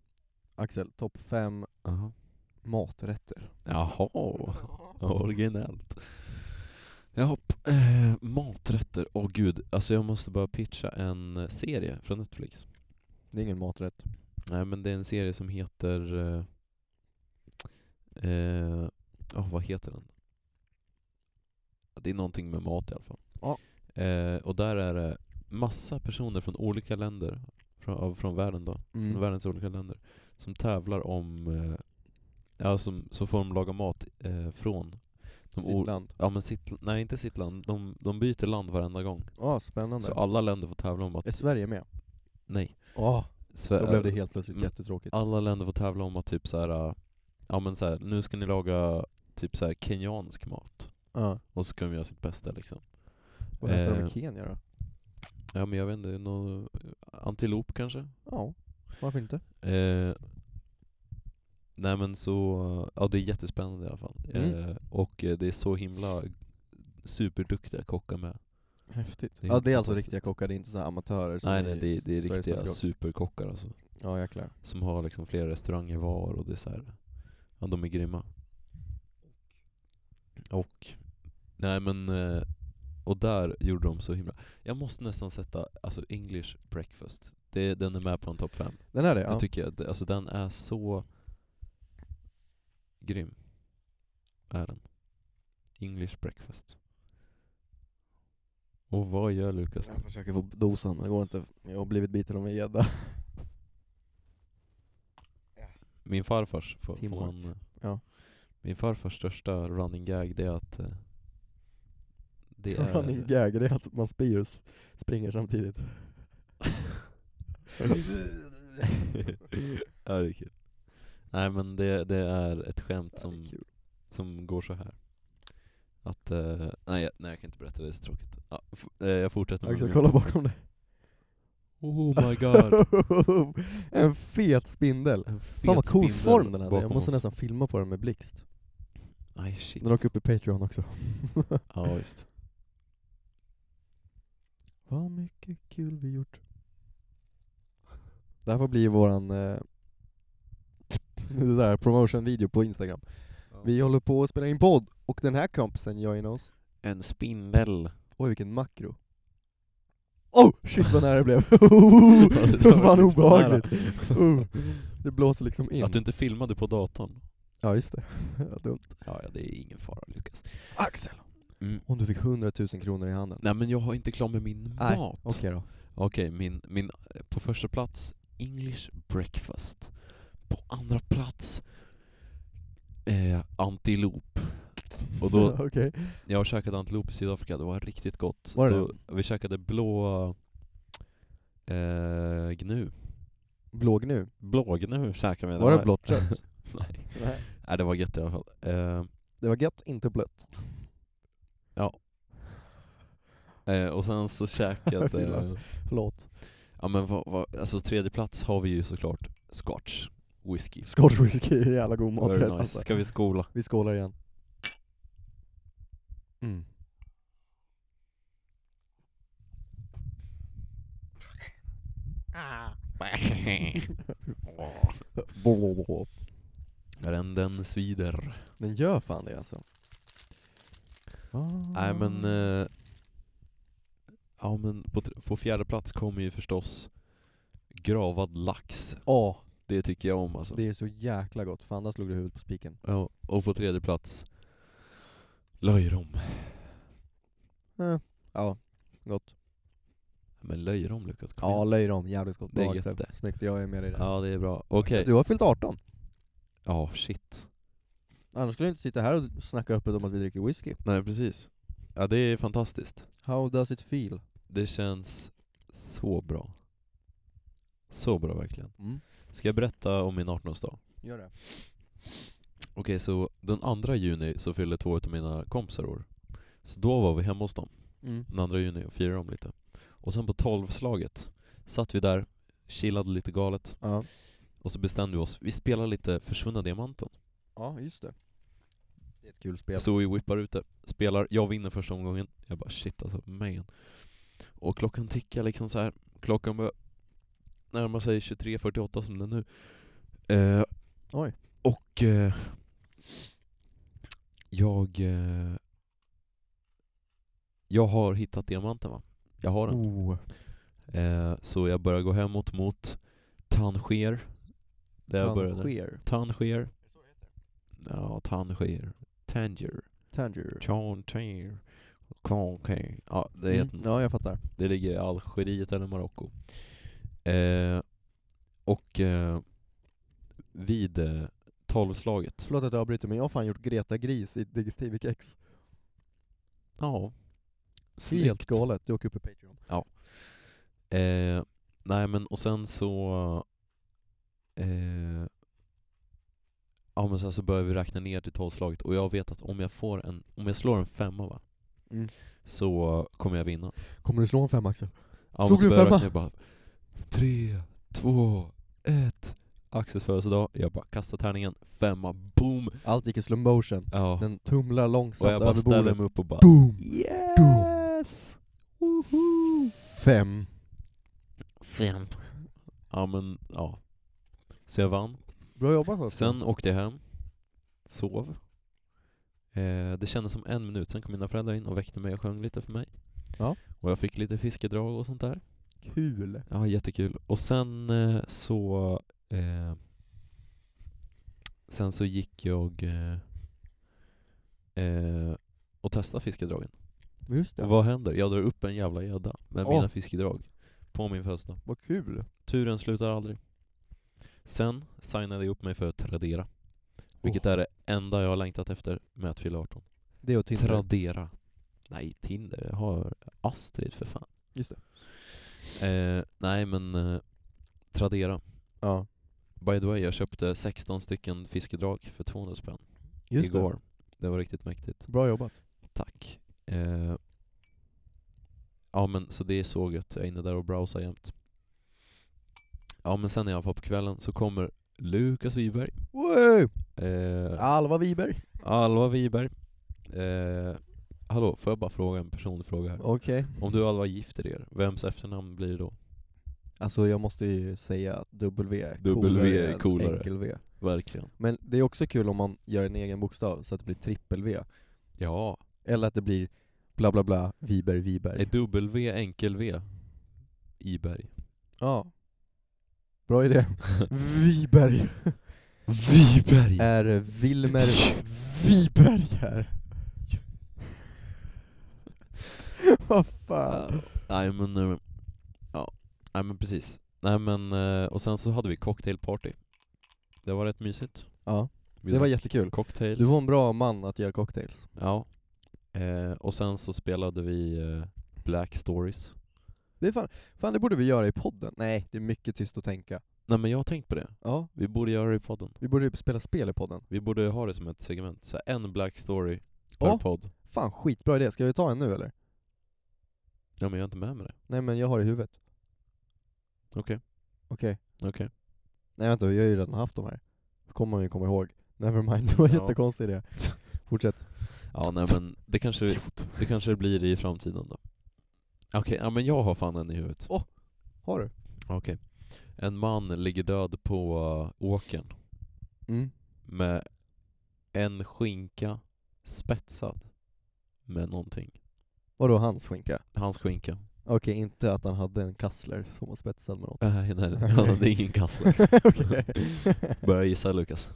B: Axel, topp fem
A: Aha.
B: maträtter.
A: Jaha, originellt. Jaha, eh, maträtter. Åh gud, alltså jag måste bara pitcha en eh, serie från Netflix.
B: Det är ingen maträtt.
A: Nej men det är en serie som heter... Eh, eh, åh, vad heter den? Det är någonting med mat i alla fall.
B: Ja.
A: Eh, och där är det massa personer från olika länder, från, av- från världen då,
B: Mm.
A: från Mm. världens olika länder, som tävlar om, eh, ja, som, så får de laga mat eh, från de
B: Sitt
A: o-
B: land.
A: Ja men sitt, nej inte sitt land, de, de byter land varenda gång.
B: Ja, spännande.
A: Så alla länder får tävla om att,
B: Är Sverige med?
A: nej.
B: Ja,
A: Sve-
B: då blev det helt plötsligt
A: Mm.
B: jättetråkigt.
A: Alla länder får tävla om att typ så här. äh, ja men så här, nu ska ni laga typ så här kenyansk mat.
B: Ja.
A: Och så ska de göra sitt bästa liksom.
B: Vad heter de
A: Eh.
B: i Kenya då?
A: Ja men jag vet inte, någon antilop kanske?
B: Ja, varför inte?
A: Eh, nej men så, ja det är jättespännande i alla fall.
B: Mm.
A: Eh, och eh, det är så himla superduktiga kockar med.
B: Häftigt.
A: Det är
B: ja, det är
A: helt
B: alltså
A: fantastiskt.
B: riktiga kockar, det är inte så här amatörer som
A: Nej nej det, är- det är
B: Sveriges
A: riktiga
B: bästa kock.
A: superkockar alltså.
B: Ja, jäklar.
A: Som har liksom flera restauranger var och det är så här. Ja, de är grymma. Och, nej men, eh, och där gjorde de så himla... Jag måste nästan sätta, alltså English breakfast. Det, den är med på en topp fem.
B: Den är det? Ja.
A: Det tycker jag, det- alltså den är så grym. Är den. English breakfast. Och vad gör Lukas?
B: Jag försöker få dosan, men det går inte. Jag har blivit biten av en gädda.
A: Min farfars, får, får
B: Teamwork.
A: man, eh,
B: Ja.
A: Min farfars största running gag det är att eh, det är...
B: Running gag, det är att man spyr och s- springer samtidigt.
A: ja, det är kul. Nej men det, det är ett skämt
B: Ja, det är
A: som,
B: kul.
A: som går så här. Att, eh, nej, jag, nej jag kan inte berätta det, det är så tråkigt. Ja, f- eh, jag fortsätter
B: Axel,
A: min-
B: kolla bakom dig.
A: Oh my god.
B: en fet spindel.
A: En
B: Fan vad
A: fet
B: cool
A: spindel
B: form den hade. Jag
A: bakom
B: måste
A: oss.
B: nästan filma på den med blixt.
A: Aj shit.
B: Den åker upp i Patreon också.
A: Ja visst.
B: Vad mycket kul vi gjort. Det här får bli våran eh, det där promotion-video på Instagram. Vi håller på att spela in podd och den här kompisen joinar oss.
A: En spindel.
B: Oj vilken makro. Oh! Shit vad nära det blev.
A: det
B: det
A: var
B: var
A: lite för nära.
B: obehagligt. Oh, det blåser liksom in.
A: Att du inte filmade på datorn.
B: Ja just det. Ja, dumt.
A: Ja, ja, det är ingen fara Lukas.
B: Axel!
A: Mm.
B: Om du fick 100 000 kronor i handen.
A: Nej men jag har inte klar med min
B: Nej,
A: mat.
B: Okej då.
A: Okej, min, min, på första plats English breakfast. På andra plats eh, antilop. Och då,
B: Okej.
A: jag har käkat antilop i Sydafrika, det var riktigt gott.
B: Var det
A: då, Vi käkade blå eh, gnu.
B: Blåg nu.
A: Blågnu käkade vi.
B: Var det
A: var-
B: blått kött?
A: Nej.
B: Nej.
A: Nej, det var gött i alla fall. Eh,
B: Det var gött, inte blött.
A: eh, och sen så käkade...
B: Fylla. Förlåt.
A: ja men vad, vad, alltså tredje plats har vi ju såklart Scotch whisky.
B: Scotch whisky är jävla god maträtt
A: Very
B: alltså.
A: nice. Ska vi skola?
B: Vi skålar igen. Mm.
A: Den, den svider.
B: Den gör fan det alltså. Ah.
A: Nej men... Eh, ja men på, tr- på fjärde plats kommer ju förstås gravad lax.
B: Åh,
A: Det tycker jag om alltså.
B: det är så jäkla gott. Fan, där slog du huvudet på spiken.
A: Ja, och på tredje plats löjrom.
B: Eh, Ja, gott.
A: Men löjrom Lukas, kom
B: Ja,
A: igen.
B: löjrom. Jävligt gott.
A: Det är
B: Bra,
A: gött
B: Axel.
A: det.
B: Snyggt, jag är med dig där.
A: ja det är bra. Okej.
B: Du har fyllt 18.
A: Ja shit.
B: Annars skulle du inte sitta här och snacka öppet om att vi dricker whisky.
A: Nej precis. Ja det är fantastiskt.
B: How does it feel?
A: Det känns så bra. Så bra verkligen.
B: Mm.
A: Ska jag berätta om min 18-årsdag?
B: Gör det.
A: Okej, så den 2 juni så fyllde två utav mina kompisar år. Så då var vi hemma hos dem
B: Mm.
A: den 2 juni och firade dem lite. Och sen på 12-slaget satt vi där, chillade lite galet,
B: Ja.
A: och så bestämde vi oss, vi spelar lite Försvunna Diamanten.
B: ja, just det. Det är ett kul spel.
A: Så vi whippar ut det, spelar, jag vinner första omgången. Jag bara shit alltså, man. Och klockan tickar liksom så här. klockan börjar närma sig 23.48 som det är nu. Eh,
B: Oj.
A: Och eh, jag eh, jag har hittat diamanten va? Jag har den.
B: Oh.
A: Eh, så jag börjar gå hemåt mot Tanger. Där jag började.
B: Tangier.
A: Tanger. Ja, Tanger. Tanger.
B: Tangier.
A: Chantier. Conquer. Ja, det heter
B: Mm.
A: något.
B: Ja, jag fattar.
A: Det ligger i Algeriet eller Marocko. Eh, och eh, vid eh, tolvslaget.
B: Förlåt att jag avbryter, men jag har fan gjort Greta Gris i Digestive Kex.
A: Ja.
B: Helt
A: Snyggt.
B: galet. Det åker upp i Patreon.
A: Eh, nej men och sen så... Eh, ja men sen så börjar vi räkna ner till tolvslaget och jag vet att om jag får en, om jag slår en femma va,
B: Mm.
A: så kommer jag vinna.
B: Kommer du slå en fem Axel?
A: Ja,
B: Slog
A: men så
B: du
A: började jag
B: femma?
A: räkna, jag bara Tre, två, ett Axels födelsedag, jag bara kastar tärningen, femma, boom!
B: Allt gick i slow motion.
A: Ja.
B: Den tumlar
A: Och
B: långsamt
A: jag bara
B: över
A: ställer
B: bordet.
A: mig upp och bara
B: Boom!
A: Yes! Woho!
B: Fem.
A: Fem. Ja men, ja. Så jag vann.
B: Bra jobbat Axel.
A: Sen åkte jag hem, sov. Eh, det kändes som en minut, sen kom mina föräldrar in och väckte mig och sjöng lite för mig.
B: Ja.
A: Och jag fick lite fiskedrag och sånt där.
B: Kul.
A: Ja, jättekul. Och sen eh, så... Eh, sen så gick jag eh, eh, och testade fiskedragen.
B: Just det.
A: Och vad händer? Jag drar upp en jävla gädda med
B: Åh.
A: mina fiskedrag. På min födelsedag.
B: Vad kul.
A: Turen slutar aldrig. Sen signade jag upp mig för Tradera. Vilket
B: Åh.
A: är det enda jag har längtat efter med att fylla 18.
B: Det och Tinder.
A: Tradera. Nej, Tinder. Jag har Astrid för fan.
B: Just det.
A: Eh, nej men, eh, Tradera.
B: Ja.
A: By the way, jag köpte 16 stycken fiskedrag för 200 spänn
B: Just
A: igår. Det. var riktigt mäktigt.
B: det. Bra jobbat.
A: Tack. Eh, ja men så det är så gött, jag är inne där och browsar jämt. Ja men sen i alla fall på kvällen så kommer Lukas Wiberg,
B: Wow!
A: eh,
B: Alva Wiberg.
A: Alva Wiberg. Eh, hallå, får jag bara fråga en personlig fråga här?
B: Okej.
A: Om du och Alva gifter er, vems efternamn blir det då?
B: Alltså jag måste ju säga att W är
A: W
B: coolare,
A: är
B: än
A: coolare.
B: enkel V.
A: Verkligen.
B: Men det är också kul om man gör en egen bokstav så att det blir trippel-V.
A: Ja,
B: Eller att det blir bla bla bla, Wiberg, Wiberg.
A: är W enkel-V? Iberg.
B: Ja. Bra idé. Wiberg.
A: Viberg!
B: Är Wilmer Wiberg här? Vad fan.
A: Nej men, eh, ja, nej men precis. Nej men, eh, och sen så hade vi cocktailparty. Det var rätt mysigt.
B: Ja,
A: Vi
B: det var
A: drack
B: jättekul.
A: cocktails.
B: Du var en bra man att göra cocktails.
A: Ja. Eh, och sen så spelade vi eh, Black Stories.
B: Det är fan, fan det borde vi göra i podden. Nej, det är mycket tyst att tänka.
A: Nej men jag har tänkt på det.
B: Ja,
A: Vi borde göra det i podden.
B: vi borde ju spela spel i podden.
A: Vi borde ha det som ett segment. Så här, en Black Story per
B: Ja.
A: podd.
B: Fan skitbra idé, ska vi ta en nu eller?
A: Ja men jag är inte med med det.
B: Nej men jag har det i huvudet.
A: Okej.
B: Okej.
A: Okej.
B: Nej vänta, vi har ju redan haft de här. kommer man ju komma ihåg. Nevermind, det var en
A: Ja.
B: jättekonstig idé. Fortsätt.
A: Ja nej men det kanske, det kanske blir i framtiden då. Okej, ja men jag har fan en i huvudet.
B: Har du?
A: Okej. En man ligger död på uh, åkern
B: Mm.
A: med en skinka spetsad med någonting.
B: Vadå hans skinka?
A: Hans skinka.
B: Okej, inte att han hade en kassler som var spetsad med något.
A: Äh, nej, nej, han hade ingen kassler.
B: Okej.
A: Börja gissa Lukas.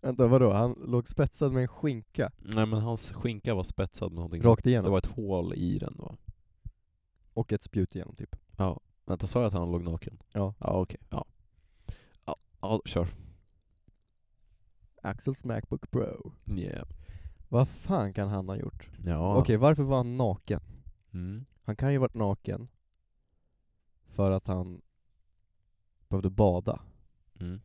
B: Vänta, vadå? Han låg spetsad med en skinka?
A: Nej men hans skinka var spetsad med någonting.
B: Rakt
A: Det
B: igenom?
A: var ett hål i den va?
B: Och ett spjut igenom typ.
A: Ja. Vänta, sa jag att han låg naken?
B: Ja.
A: Ja okej, ja. ja. Ja, kör.
B: Axels Macbook Pro.
A: Yeah.
B: Vad fan kan han ha gjort?
A: Ja.
B: Okej, varför var han naken?
A: Mm.
B: Han Han kan ju varit naken för att han behövde bada.
A: Mm.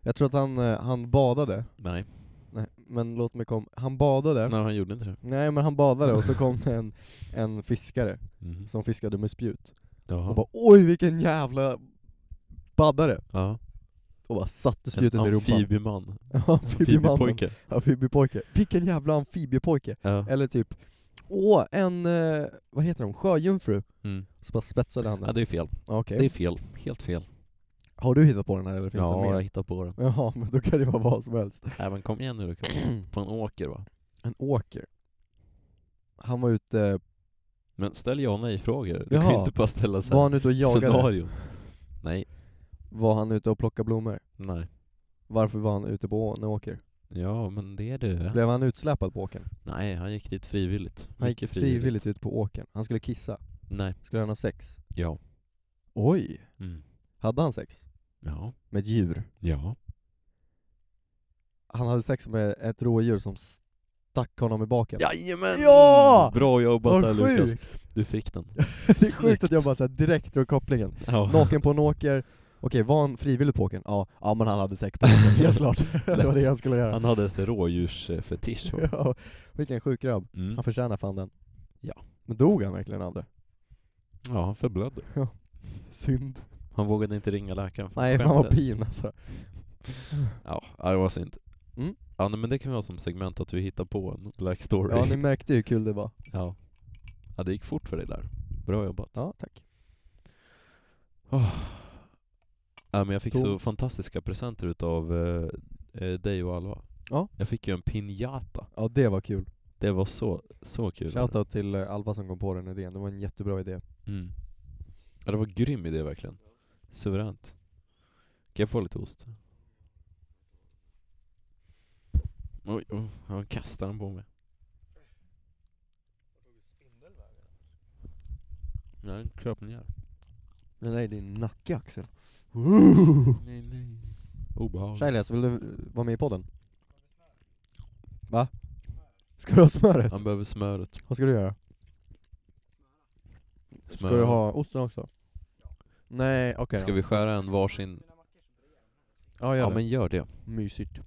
B: Jag tror att han, eh, han badade,
A: Nej.
B: nej men låt mig komma, han badade, nej,
A: Nej, han gjorde inte det.
B: men han badade och så kom det en, en fiskare
A: Mm.
B: som fiskade med spjut och
A: Jaha.
B: bara oj vilken jävla baddare!
A: Ja.
B: Och bara satte spjutet
A: En
B: i rumpan.
A: amfibieman.
B: Amfibiemannen.
A: Amfibiepojke.
B: Amfibiepojke. Vilken jävla amfibiepojke!
A: Ja.
B: Eller typ, åh en, eh, vad heter de, sjöjungfru?
A: Mm.
B: Så bara spetsade han
A: ja,
B: den.
A: det är fel.
B: Ja, Okej.
A: Det är fel. Helt fel.
B: Har du hittat på den här eller finns
A: Ja,
B: det
A: jag
B: mer?
A: hittar på det.
B: Jaha, men då kan det vara vad som helst.
A: Nej men kom igen nu Lukas. På en åker va?
B: En åker. Han var ute,
A: Men ställ ja och nej-frågor. Du kan ju
B: Jaha.
A: inte bara ställa så
B: var
A: här
B: han ute och jagade?
A: scenarion. Nej.
B: Var han ute och plockade blommor?
A: Nej.
B: Varför var han ute på en åker?
A: Ja, men det är du.
B: Blev han utsläpad på åkern?
A: Nej, han gick dit frivilligt.
B: Han gick
A: Mycket
B: frivilligt. ut på åkern. Han skulle kissa.
A: Nej.
B: Skulle han ha sex?
A: Ja.
B: Oj!
A: Mm.
B: Hade han sex?
A: Ja.
B: Med ett djur?
A: Ja.
B: Han hade sex med ett rådjur som stack honom i baken.
A: Jajamän!
B: Ja!
A: Bra jobbat där
B: Vad
A: Lukas.
B: sjukt!
A: Du fick den.
B: Det är
A: Snyggt.
B: sjukt att jag bara så här direkt drar kopplingen.
A: Ja.
B: Naken på en åker, okej var han frivilligt på åkern? Ja, ja men han hade sex på åkern, helt klart. det var det han skulle göra.
A: Han hade ett rådjursfetisch. va?
B: ja, vilken sjuk grabb.
A: Mm.
B: Han förtjänar fan den.
A: Ja.
B: Men dog han verkligen av det?
A: Ja, han förblödde.
B: Synd.
A: Han vågade inte ringa läkaren för
B: Nej,
A: han
B: fan vad
A: skämdes.
B: pin alltså.
A: Ja, ja, det var sent.
B: Mm.
A: Ja, nej, men det kan vi ha som segment att vi hittar på en black story.
B: Ja, ni märkte ju hur kul det var.
A: ja. ja, det gick fort för dig där. Bra jobbat.
B: Ja, tack.
A: Ja, men jag fick så
B: Tomt.
A: fantastiska presenter utav eh, eh, dig och Alva.
B: Ja.
A: Jag fick ju en pinjata.
B: Ja, det var kul.
A: Det var så, så kul.
B: Shoutout till eh, Alva som kom på den idén, det var en jättebra idé.
A: Mm. Ja, det var en grym idé verkligen. Suveränt. Kan jag få lite ost? Oj, oh, han kastar den på mig. Nej, den kröp ner.
B: Den där är din nacke Axel.
A: Nej, nej. Obehagligt.
B: Shilias, vill du eh, vara med i podden? Va? Ska du ha smöret?
A: Han behöver smöret.
B: Vad ska du göra? Ska
A: smöret.
B: du ha osten också? Nej, okej
A: Ska vi skära en varsin?
B: Ja, gör
A: Ja,
B: det.
A: men gör det.
B: Mysigt.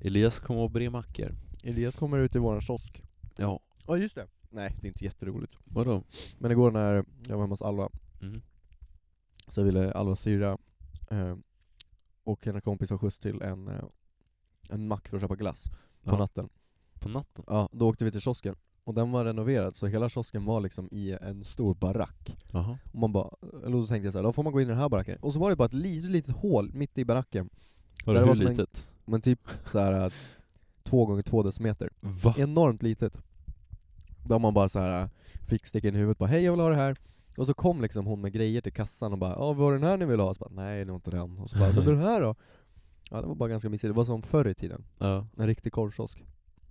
A: Elias kommer och bre mackor.
B: Elias kommer ut i våran kiosk.
A: Ja.
B: Ja, just det. Nej, det är inte jätteroligt.
A: Vadå?
B: Men igår när jag var hemma hos Alva,
A: Mm.
B: så ville Alvas syrra eh, och hennes kompis ha skjuts till en, eh, en mack för att köpa glass på
A: Ja.
B: natten.
A: På natten?
B: Ja, då åkte vi till kiosken. Och den var renoverad, så hela kiosken var liksom i en stor barack.
A: Jaha.
B: Och man bara, eller så tänkte jag så här, då får man gå in i den här baracken. Och så var det bara ett litet, litet hål mitt i baracken.
A: Var
B: Där
A: det hur
B: var som en-
A: litet?
B: Men typ så här eh, två gånger två decimeter.
A: Va?
B: enormt litet. Där man bara så här äh, fick sticka in i huvudet bara hej jag vill ha det här. Och så kom liksom hon med grejer till kassan och bara ja var det den här ni vill ha? Och så bara, Nej det var inte den. Och så bara men den här då? Ja det var bara ganska mysigt. Det var som förr i tiden.
A: Ja.
B: En riktig korvkiosk.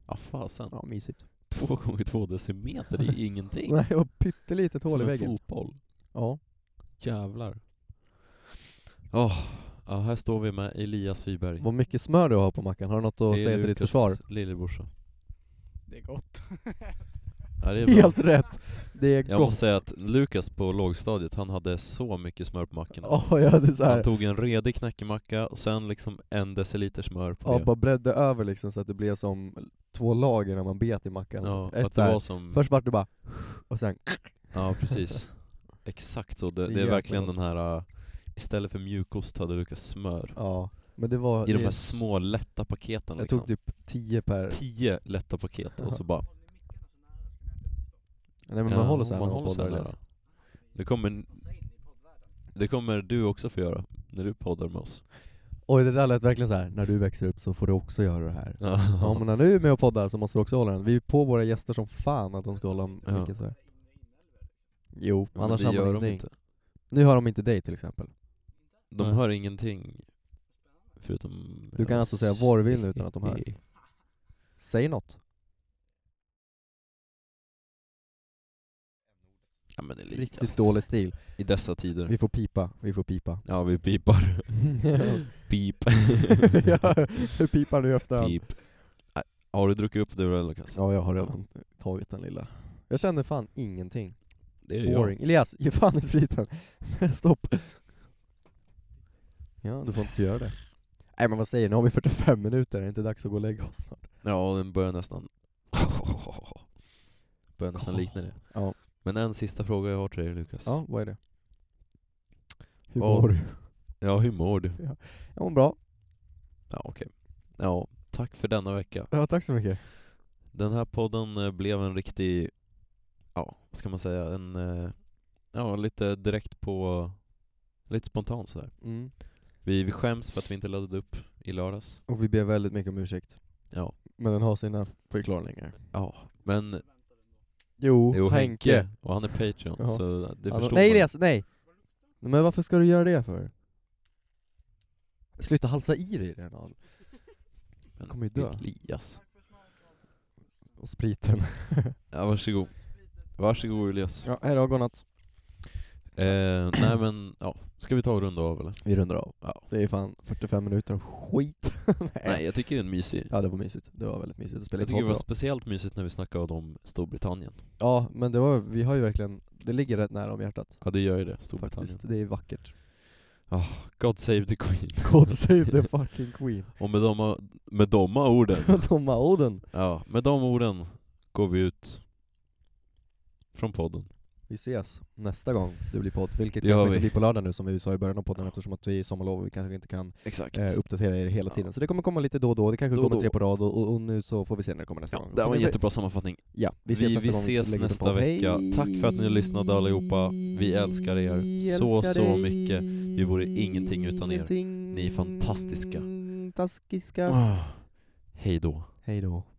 A: Ja, fasen.
B: Ja mysigt.
A: Två gånger två decimeter, det är ju ingenting.
B: Nej det var pyttelitet hål i
A: Som en
B: väggen.
A: fotboll.
B: Ja.
A: Jävlar. Åh, ja, här står vi med Elias Friberg.
B: Vad mycket smör du har på mackan. Har du något att
A: Det är
B: säga till ditt
A: Lukas
B: försvar?
A: Lillebrorsa.
C: Det är gott.
A: Ja, det är bra.
B: Helt rätt! Det är
A: Jag
B: gott.
A: måste säga att Lukas på lågstadiet, han hade så mycket smör på mackorna.
B: Ja jag hade så
A: Han
B: här.
A: tog en redig knäckemacka och sen liksom en deciliter smör på
B: Ja
A: det.
B: bara bredde över liksom så att det blev som två lager när man bet i mackan.
A: Ja,
B: Ett
A: att
B: så
A: det
B: här,
A: var som...
B: Först vart det bara och sen
A: Ja, precis. Exakt så. Det,
B: Så
A: det är
B: jäkla
A: verkligen
B: gott.
A: den här, äh, istället för mjukost hade Lukas smör.
B: Ja, men det var...
A: I de
B: det-
A: här små lätta paketen
B: Jag
A: liksom.
B: tog typ 10 per...
A: tio lätta paket och så bara...
B: Nej men
A: ja,
B: man håller såhär
A: man
B: när man
A: håller så
B: poddar
A: här
B: liksom. Elias.
A: nära. Det kommer, det kommer du också få göra, när du poddar med oss.
B: Oj det där lät verkligen så här. när du växer upp så får du också göra det här.
A: Ja,
B: Ja men när du är med och poddar så måste du också hålla den. Vi är på våra gäster som fan att de ska hålla
A: Ja.
B: mycket så här. Jo,
A: men
B: annars
A: det
B: har man
A: gör de
B: ingenting.
A: inte.
B: Nu har de inte dig till exempel.
A: De
B: Nej.
A: hör ingenting, förutom...
B: Du kan alltså säga vad du vill nu utan att de hör. Säg något.
A: Ja, men Elias.
B: Riktigt dålig stil.
A: I dessa tider.
B: Vi får pipa, vi får pipa.
A: Ja, vi pipar. Pip.
B: ja, vi pipar nu i efterhand.
A: Pip. Nej, Har du druckit upp du eller Lukas?
B: Ja jag har redan tagit den lilla. Jag kände fan ingenting.
A: Det är jag.
B: Boring. Elias, ge fan i spriten. Stopp. Ja, du får inte göra det. Nej men vad säger ni? Nu har vi 45 minuter, är det inte dags att gå och lägga oss snart?
A: Ja, den börjar nästan... börjar nästan likna det.
B: Ja.
A: Men en sista fråga jag har till dig Lukas.
B: Ja, vad är det? Hur
A: Ja.
B: mår du?
A: ja hur mår du?
B: Jag mår bra.
A: Ja, okej. Ja, tack för denna vecka.
B: Ja, tack så mycket.
A: Den här podden eh, blev en riktig, ja, vad ska man säga, en, eh, ja, lite direkt på, lite spontant sådär.
B: Mm.
A: Vi, vi skäms för att vi inte laddade upp i lördags.
B: Och vi ber väldigt mycket om ursäkt.
A: Ja.
B: Men den har sina förklaringar.
A: Ja, men
B: Jo,
A: jo,
B: Oh, Henke.
A: Henke, och han är Patreon,
B: Ja.
A: så det
B: Hallå-
A: förstår
B: Alltså, nej
A: man.
B: Elias, nej! Men varför ska du göra det för? Sluta halsa i dig den Adam.
A: Men
B: kommer ju dö.
A: Elias.
B: Och spriten.
A: Ja, varsågod. Varsågod Elias.
B: Ja, hejdå, godnatt.
A: Eh, nej men, ja. Ska vi ta och runda av eller?
B: Vi rundar av.
A: Ja.
B: Det är fan 45 minuter av skit.
A: Nej, jag tycker det är en mysig.
B: Ja det var mysigt, det var väldigt mysigt att spela
A: Jag
B: in
A: tycker det
B: podd
A: var
B: idag.
A: speciellt mysigt när vi snackade om Storbritannien.
B: Ja men det var, vi har ju verkligen, det ligger rätt nära om hjärtat.
A: Ja det gör ju det, Storbritannien.
B: Faktiskt, det är vackert.
A: God save the Queen.
B: God save the fucking Queen.
A: Och med de, med de orden,
B: De här orden.
A: ja, med de orden går vi ut från podden.
B: Vi ses nästa gång det blir podd, vilket
A: Det
B: kanske
A: gör
B: inte
A: vi.
B: blir på lördag nu som vi sa i början av podden eftersom att vi är i sommarlov och vi kanske inte kan
A: Exakt.
B: eh, uppdatera er hela
A: Ja.
B: tiden. Så det kommer komma lite då och då, det kanske
A: Då och
B: kommer
A: då.
B: tre på rad och, och, och nu så får vi se när det kommer nästa
A: ja,
B: gång.
A: det
B: Så
A: var en
B: det-
A: jättebra sammanfattning.
B: Ja,
A: Vi
B: vi ses nästa,
A: vi
B: gång
A: ses
B: lägger ut en
A: nästa
B: podd.
A: vecka.
B: Hej!
A: Tack för att ni lyssnade allihopa. Vi älskar er så,
B: Älskar
A: så
B: dig.
A: mycket. Vi vore ingenting utan er.
B: Ingenting.
A: Ni är fantastiska.
B: Taskiska.
A: Ah, Hej då.
B: Hej då.